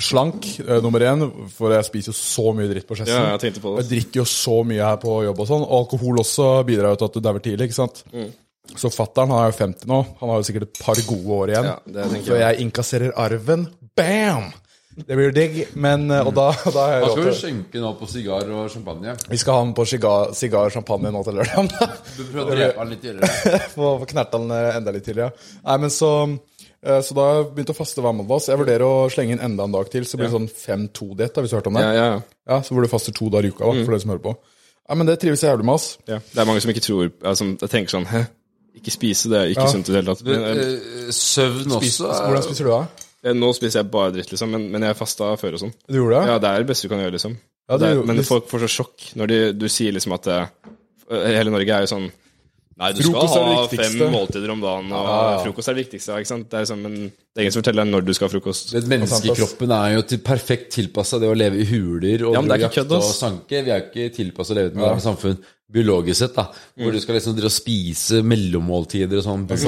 slank, eh, nummer én, for jeg spiser jo så mye dritt på ja, skjessen. jeg tenkte på Og det. Jeg drikker jo så mye her på jobb og sånn, og alkohol også bidrar jo til at du dauer tidlig, ikke sant. Mm. Så fattern, han er jo 50 nå, han har jo sikkert et par gode år igjen. Ja, det tenker så jeg innkasserer arven. Bam! Det blir digg, men eh, Og da, da har jeg Hva skal råd du til skjenke nå på sigar og champagne? Vi skal ha den på sigar, sigar og champagne nå til lørdagen. <laughs> Du prøver å drepe han litt i øret. Få få knerta den eh, enda litt til, ja. Nei, men så eh, så da har jeg begynt å faste hver mandag. Så jeg vurderer å slenge inn enda en dag til. Så blir det sånn 5-2-diett, har vi hørt om det? Ja, ja, ja. Ja, Mm. Så hvor du faster to dager i uka, da, for dere som hører på. Ja, men det trives jeg jævlig med, ass. Ja. Det er mange som ikke tror altså, som tenker sånn Hæ, ikke spise, det er ikke Ja. sunt i det hele tatt. Men, eh, Eh, Søvn også. Spis- er- Hvordan spiser du da? eh, nå spiser jeg bare dritt, liksom, men, men jeg fasta før og sånn. Du gjorde det? Ja, det er det beste du kan gjøre, liksom. Ja, det du- er, men hvis- folk får så sjokk når de, du sier liksom at eh, Hele Norge er jo sånn Nei, du Frokost er skal det ha viktigste. fem måltider om dagen, og Ja, ja. frokost er det viktigste. ja, Ikke sant? Det er, liksom, en- det er ingen som forteller deg når du skal ha frokost. Et menneske i kroppen er jo til perfekt tilpassa det å leve i huler og Ja, men det er ikke jakte kødd, ass. og sanke. Vi er jo ikke tilpassa å leve i et moderne samfunn biologisk sett, da. Hvor du skal liksom drive og spise mellommåltider og sånn. Noe av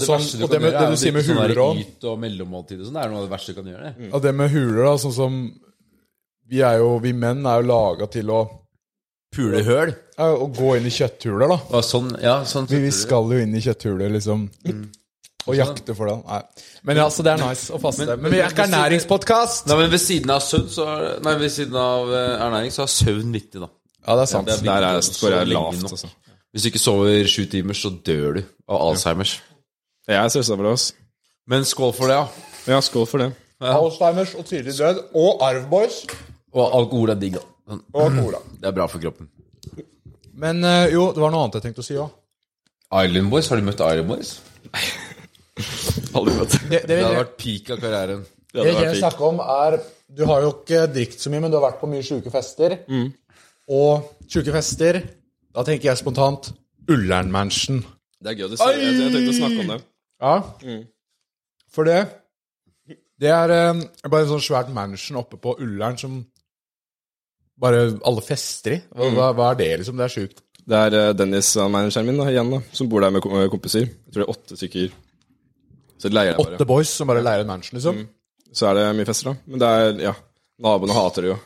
Og sånn- verste og det med- det er du å sier med drikke sånn der huler Mm. også. yt og mellommåltider og sånn. Det er noe av det verste du kan gjøre. det. Ja, det med huler, da, sånn som Vi er jo, vi menn er jo laga til å, Pulehøl. ja, å gå inn i kjøtthuler, da. Og sånn, ja, sånn Vi, vi skal jo inn i kjøtthulet, liksom. Og jakte for det. Nei. Men altså, det er nice å faste. Men, vi er ikke ernæringspodkast! Nei, men ved siden av søvn, så er- Nei, ved siden av eh, ernæring, så er søvn viktig, da. Ja, det er sant. Det er Der er, viktig å hvor jeg sove er lenge lavt, nok. altså. Hvis du ikke sover sju timer, så dør du av Alzheimers. Jeg er stressablås. Men skål for det, ja. Ja, skål for det. Alzheimers og tidlig død og arvboys Og alkohol er digg, da. Sånn. og cola. Det er bra for kroppen. Men eh, jo, det var noe annet jeg tenkte å si òg. Island Boys, har du møtt Island <laughs> Boys? Aldri møtt. Det, Det vil hadde jeg- vært peak av karrieren. Det det hadde jeg vil vært digg. snakke om, er Du har jo ikke drikt så mye, men du har vært på mye sjuke fester. Og sjuke fester Da tenker jeg spontant Ullernmanchen. Det er gøy du sier det. Jeg tenkte å snakke om det. Ja. For det Det er eh, bare en sånn svært mansion oppe på Ullern som bare alle fester i. Og Hva, hva er det, liksom? Det er sjukt. Det er eh, Dennis, han manageren min, da, igjen, da, som bor der med kom- med kompiser. Jeg tror det er åtte stykker. Så leier jeg Åtte bare. boys som bare leier en mansion, liksom. Så er det mye fester, da. Men det er, ja, naboene hater det jo.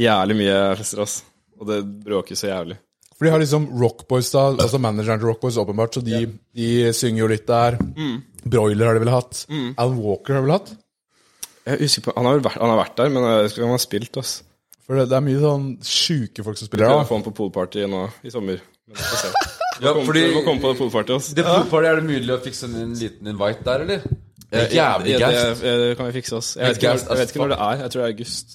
Jævlig mye fester, ass. Og det bråker så jævlig. For de har liksom Rockboys, da, altså manageren til Rockboys, åpenbart, så de, de synger jo litt der. Mm. Broiler har de vel hatt. Alan Walker har de vel hatt. Jeg er usikker på, Han har, jo vært, han har vært der, men jeg husker ikke om han har spilt, ass. For det, det er mye sånn sjuke folk som spiller Prøver å der. da. få han på poolparty nå i sommer. Men vi får se. <laughs> Ja, Kom, fordi du må komme på poolparty, ass. det poolparty, Er det mulig å fikse en liten invite der, eller? Eh, Det er Ja, jævlig gæst. Det, det kan vi fikse oss. Jeg vet, ikke, Gaust når- jeg vet ikke når det er. Jeg tror det er august.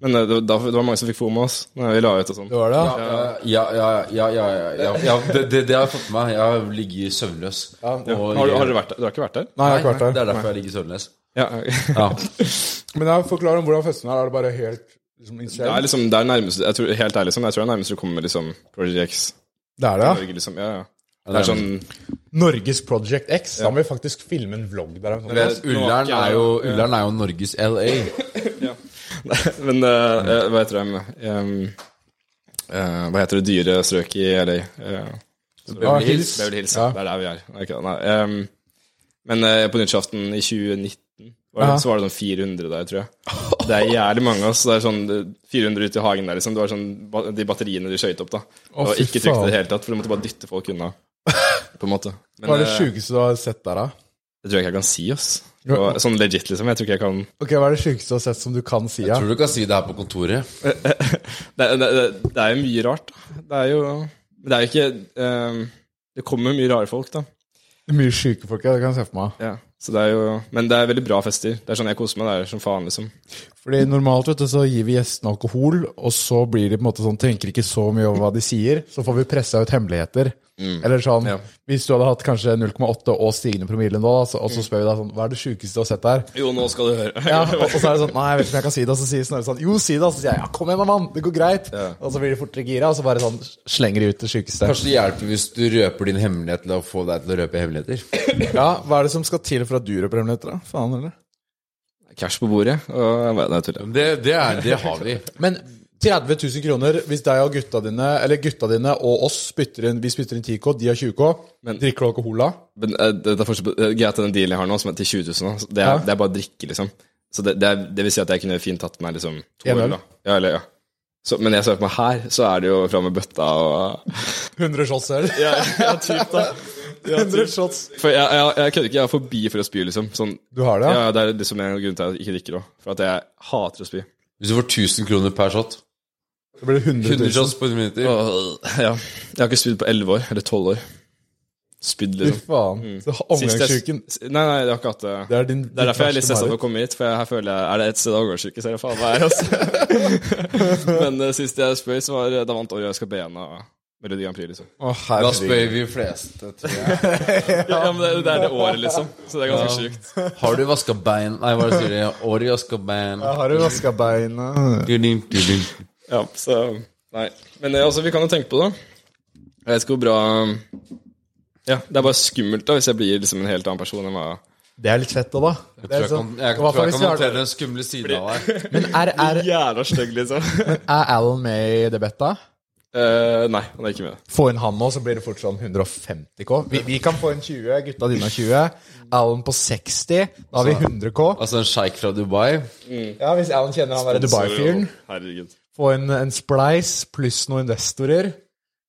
Men eh, det, da- det var mange som fikk fomo oss når vi la ut og sånn. Det var det, ja. Ja, ja, ja, ja, ja, ja, ja, ja det, det, det har jeg fått med meg. Jeg har ligget søvnløs. Og, Har, du- har du vært der? Du har ikke vært der? Nei, jeg har ikke vært Det der. er derfor jeg ligger søvnløs. Ja. Ja. Men jeg forklarer om hvordan festen er. Er det bare helt liksom, Det er insane? liksom, det er nærmest, jeg tror, helt ærlig, sånn, jeg tror det er nærmest du kommer med liksom, Project X. Det er det, ja. Norge, liksom. Ja, ja. Det er sånn Norges Project X. Da må vi faktisk filme en vlog der. Men Ullern er jo, Ullern er jo Norges LA. Men eh, eh, hva heter det Em, eh, Hva heter det dyre strøk i LA? Eh, Ja, hils. Beverly Hills, Ja. ja. Det er der vi er. Nei, ikke, nei. em, men eh, på nyttårsaften i 2019 var det, Ja. så var det sånn 400 der, tror jeg. Det er jævlig mange. ass. det er sånn eh, 400 ute i hagen der, liksom. Det var sånn ba- de batteriene de skøyt opp, da. Det var fy ikke trygt i faen. det hele tatt, for du måtte bare dytte folk unna. <laughs> På en måte. Men Hva er det eh, sjukeste du har sett der, da? det tror jeg ikke jeg kan si, ass. Det var Sånn legit, liksom. Jeg tror ikke jeg kan Ok, Hva er det sjukeste du har sett som du kan si? Ja? Tror du du kan si det her på kontoret? det, det, det, det er jo mye rart. da. Det er jo Men det er jo ikke eh, Det kommer mye rare folk, da. Det er Mye sjuke folk, ja. Det kan jeg se for meg. Ja, så det er jo Men det er veldig bra fester. Det er sånn jeg koser meg der som faen, liksom. Fordi Normalt vet du, så gir vi gjestene alkohol, og så blir de på en måte sånn, tenker ikke så mye over hva de sier. Så får vi pressa ut hemmeligheter. Eller sånn, Ja. Hvis du hadde hatt kanskje 0,8 og stigende promille nå, da, så, og så spør vi deg sånn, hva er det sjukeste du har sett der? Jo, nå skal du høre. <laughs> Ja, og, og så er det sånn Nei, jeg vet ikke om jeg kan si det. Og så sier Snorre sånn Jo, si det. Og så sier jeg ja, kom igjen da, mann. Det går greit. Og så blir de fortere gira, og så bare sånn slenger de ut det sjukeste. Kanskje det hjelper hvis du røper din hemmelighet til å få deg til å røpe hemmeligheter? Ja, hva er det som skal til for at du røper hemmeligheter, da? Faen, eller? Cash på bordet. Og nei, jeg tuller. Det, det, er, det har vi. Men 30 000 kroner, hvis deg og gutta dine, eller gutta dine og oss spytter inn, vi spytter inn 10K, de har 20K, Men- drikker du alkohol da? Men eh, det det er fortsatt det er greit at den dealen jeg har nå, som er til 20 000, da, så det, er, det er bare drikke, liksom. Så det, det, er, det vil si at jeg kunne fint tatt meg liksom to En øl. øl, da. Ja, eller, ja. Så, men jeg ser på meg her, så er det jo fra med bøtta og 100 shots selv. Ja, typ da. 100 shots. <laughs> For jeg, jeg, jeg kødder ikke, jeg er forbi for å spy, liksom. Sånn, Du har det, ja. ja? det er liksom en grunn til at jeg ikke drikker òg. For at jeg hater å spy. Hvis du får 1000 kroner per shot. Det blir 100 100 000. shots på 100 minutter. ja. Jeg har ikke spydd på 11 år, eller 12 år. Spydd, Fy liksom. faen. Mm. Så omgangssjuken, Sist jeg- Nei, nei, jeg har ikke hatt det. eh, det er din Det er derfor jeg er litt stressa for å mareritt. komme hit, for jeg, her føler jeg Er det et sted avgangsuke, så er det faen meg her, altså. <laughs> Men eh, sist jeg spøy, så var eh, da vant Oreo Escabena Melodi Grand Prix, liksom. Å, Da herregud. spør vi fleste, tror jeg. Ja, men det, det er det året, liksom. Så det er ganske sjukt. Har du vaska bein Nei, hva er det du sier? Ori vaska bein. Jeg har jo vaska beina. Du-dum, du-dum. Ja, så Nei. Men eh, altså, vi kan jo tenke på det. Jeg vet ikke hvor bra Ja, det er bare skummelt da hvis jeg blir liksom en helt annen person enn hva Det er litt fett òg, da. Det Jeg er tror jeg sånn, kan, jeg, i hvert tror jeg fall hvis kan vi har- håndtere den skumle siden av deg. Men er, er, Jævla stygg, liksom. er Alan med i det betta? <laughs> Eh, nei, han er ikke med. Få inn han nå, så blir det fort sånn 150 K. Vi, vi kan få inn 20, gutta dine har 20. Alan på 60. Da har vi 100 K. Altså en sjeik fra Dubai. Ja, Hvis Alan kjenner han der Dubai-fyren, Herregud. få inn en splice pluss noen investorer,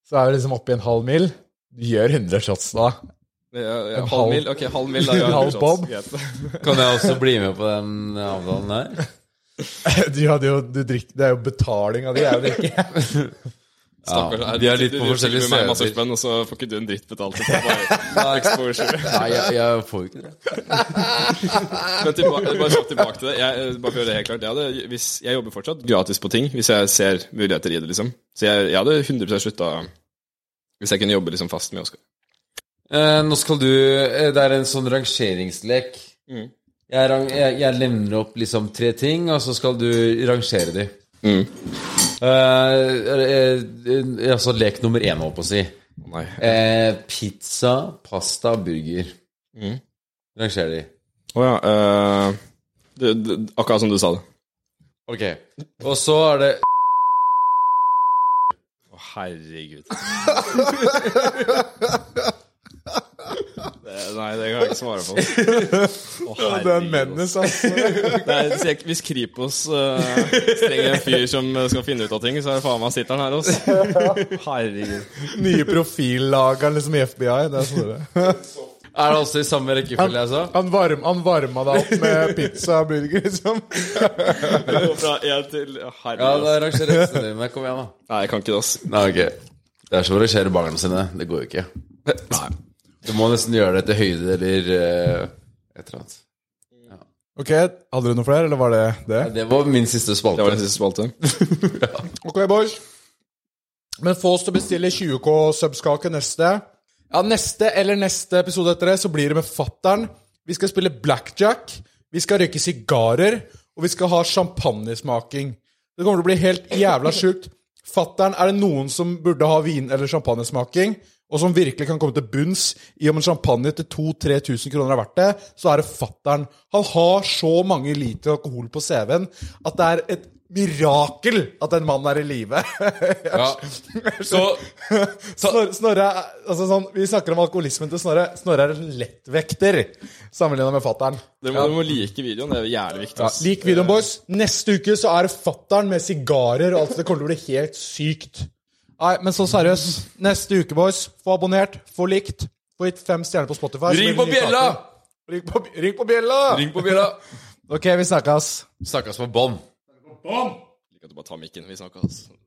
så er vi liksom oppe i en halv mil. Du gjør 100 shots da. <laughs> Ja, ja, En halv- halv mil? Ok, halv mil. Da, <laughs> En halv bob. Greit. Kan jeg også bli med på den eh, avtalen her? Du hadde jo, du drikk, det er jo betaling av de, jeg <laughs> drikker. Stakkars. Ja, jeg- de er litt du- på du forskjellige fikk med meg masse steder. spenn, Og så får ikke du en dritt <laughs> betalt. Det er bare exposure. Nei, jeg, jeg får jo ikke det. Men tilbake, bare kjapt tilbake til det. Jeg, eh, bare for å gjøre det helt klart jeg, hadde, hvis, jeg jobber fortsatt gratis på ting hvis jeg ser muligheter i det, liksom. Så jeg, jeg hadde 100 slutta hvis jeg kunne jobbe liksom fast med Oskar. Eh, nå skal du eh, Det er en sånn rangeringslek. Mm. Jeg, rang, jeg, jeg levner opp liksom tre ting, og så skal du rangere de. Mm. Eh, eh, eh, altså lek nummer én, holdt på å si. Å Nei. Eh, pizza, pasta, burger. Mm. Ranger de. Å ja. eh, det, det, akkurat som du sa det. Ok. Og så er det Å, <laughs> herregud. det, nei, det kan jeg ikke svare <laughs> på. Å, Det er en menace, ass. Det er, så jeg- hvis Kripos uh, strenger en fyr som eh, skal finne ut av ting, så er det faen meg sitter han her altså. også. Herregud. Nye profillageren liksom i FBI. Det er sånn Snorre. Er det også i samme rekkefølge altså? jeg sa? Han, varm, han varma deg opp med pizza og burger, liksom. Gå fra én til Ja, Herregud. da rangerer resten dine. Kom igjen, da. Nei, jeg kan ikke det, ass. Nei, ok. Det er som å rangere barna sine. Det går jo ikke. Du må nesten gjøre det etter høyde eller eh, et eller annet. Ok, Hadde du noe flere, eller var det det? Det var min siste Det var spalte. den siste spalte. Ok, boys. Men få oss til å bestille 20K subskake neste. Ja, neste eller neste episode etter det, så blir det med fattern. Vi skal spille blackjack. Vi skal røyke sigarer. Og vi skal ha champagnesmaking. Det kommer til å bli helt jævla sjukt. Fattern, er det noen som burde ha vin- eller champagnesmaking, og som virkelig kan komme til bunns i om en champagne til 2000-3000 kroner er verdt det, så er det fattern. Han har så mange liter alkohol på CV-en at det er et mirakel at en mann er i live. <laughs> Ja. <laughs> Så Snorre, Snorre er- altså sånn, Vi snakker om alkoholismen til Snorre. Snorre er en lettvekter sammenligna med fattern. Dere må, dere må like videoen. Det er jævlig viktig. ass. Lik videoen, boys. Neste uke så er det fattern med sigarer og alt. Det kommer til å bli helt sykt. Nei, men så seriøst. Neste uke, boys. Få abonnert, få likt, få gitt fem stjerner på Spotify. så Ring blir på det ny bjella! kake. Ring på, ring på bjella! Ring på bjella. Ok, vi snakkes. Snakkes på bånn. Jeg kan bare ta mikken. Vi snakkes.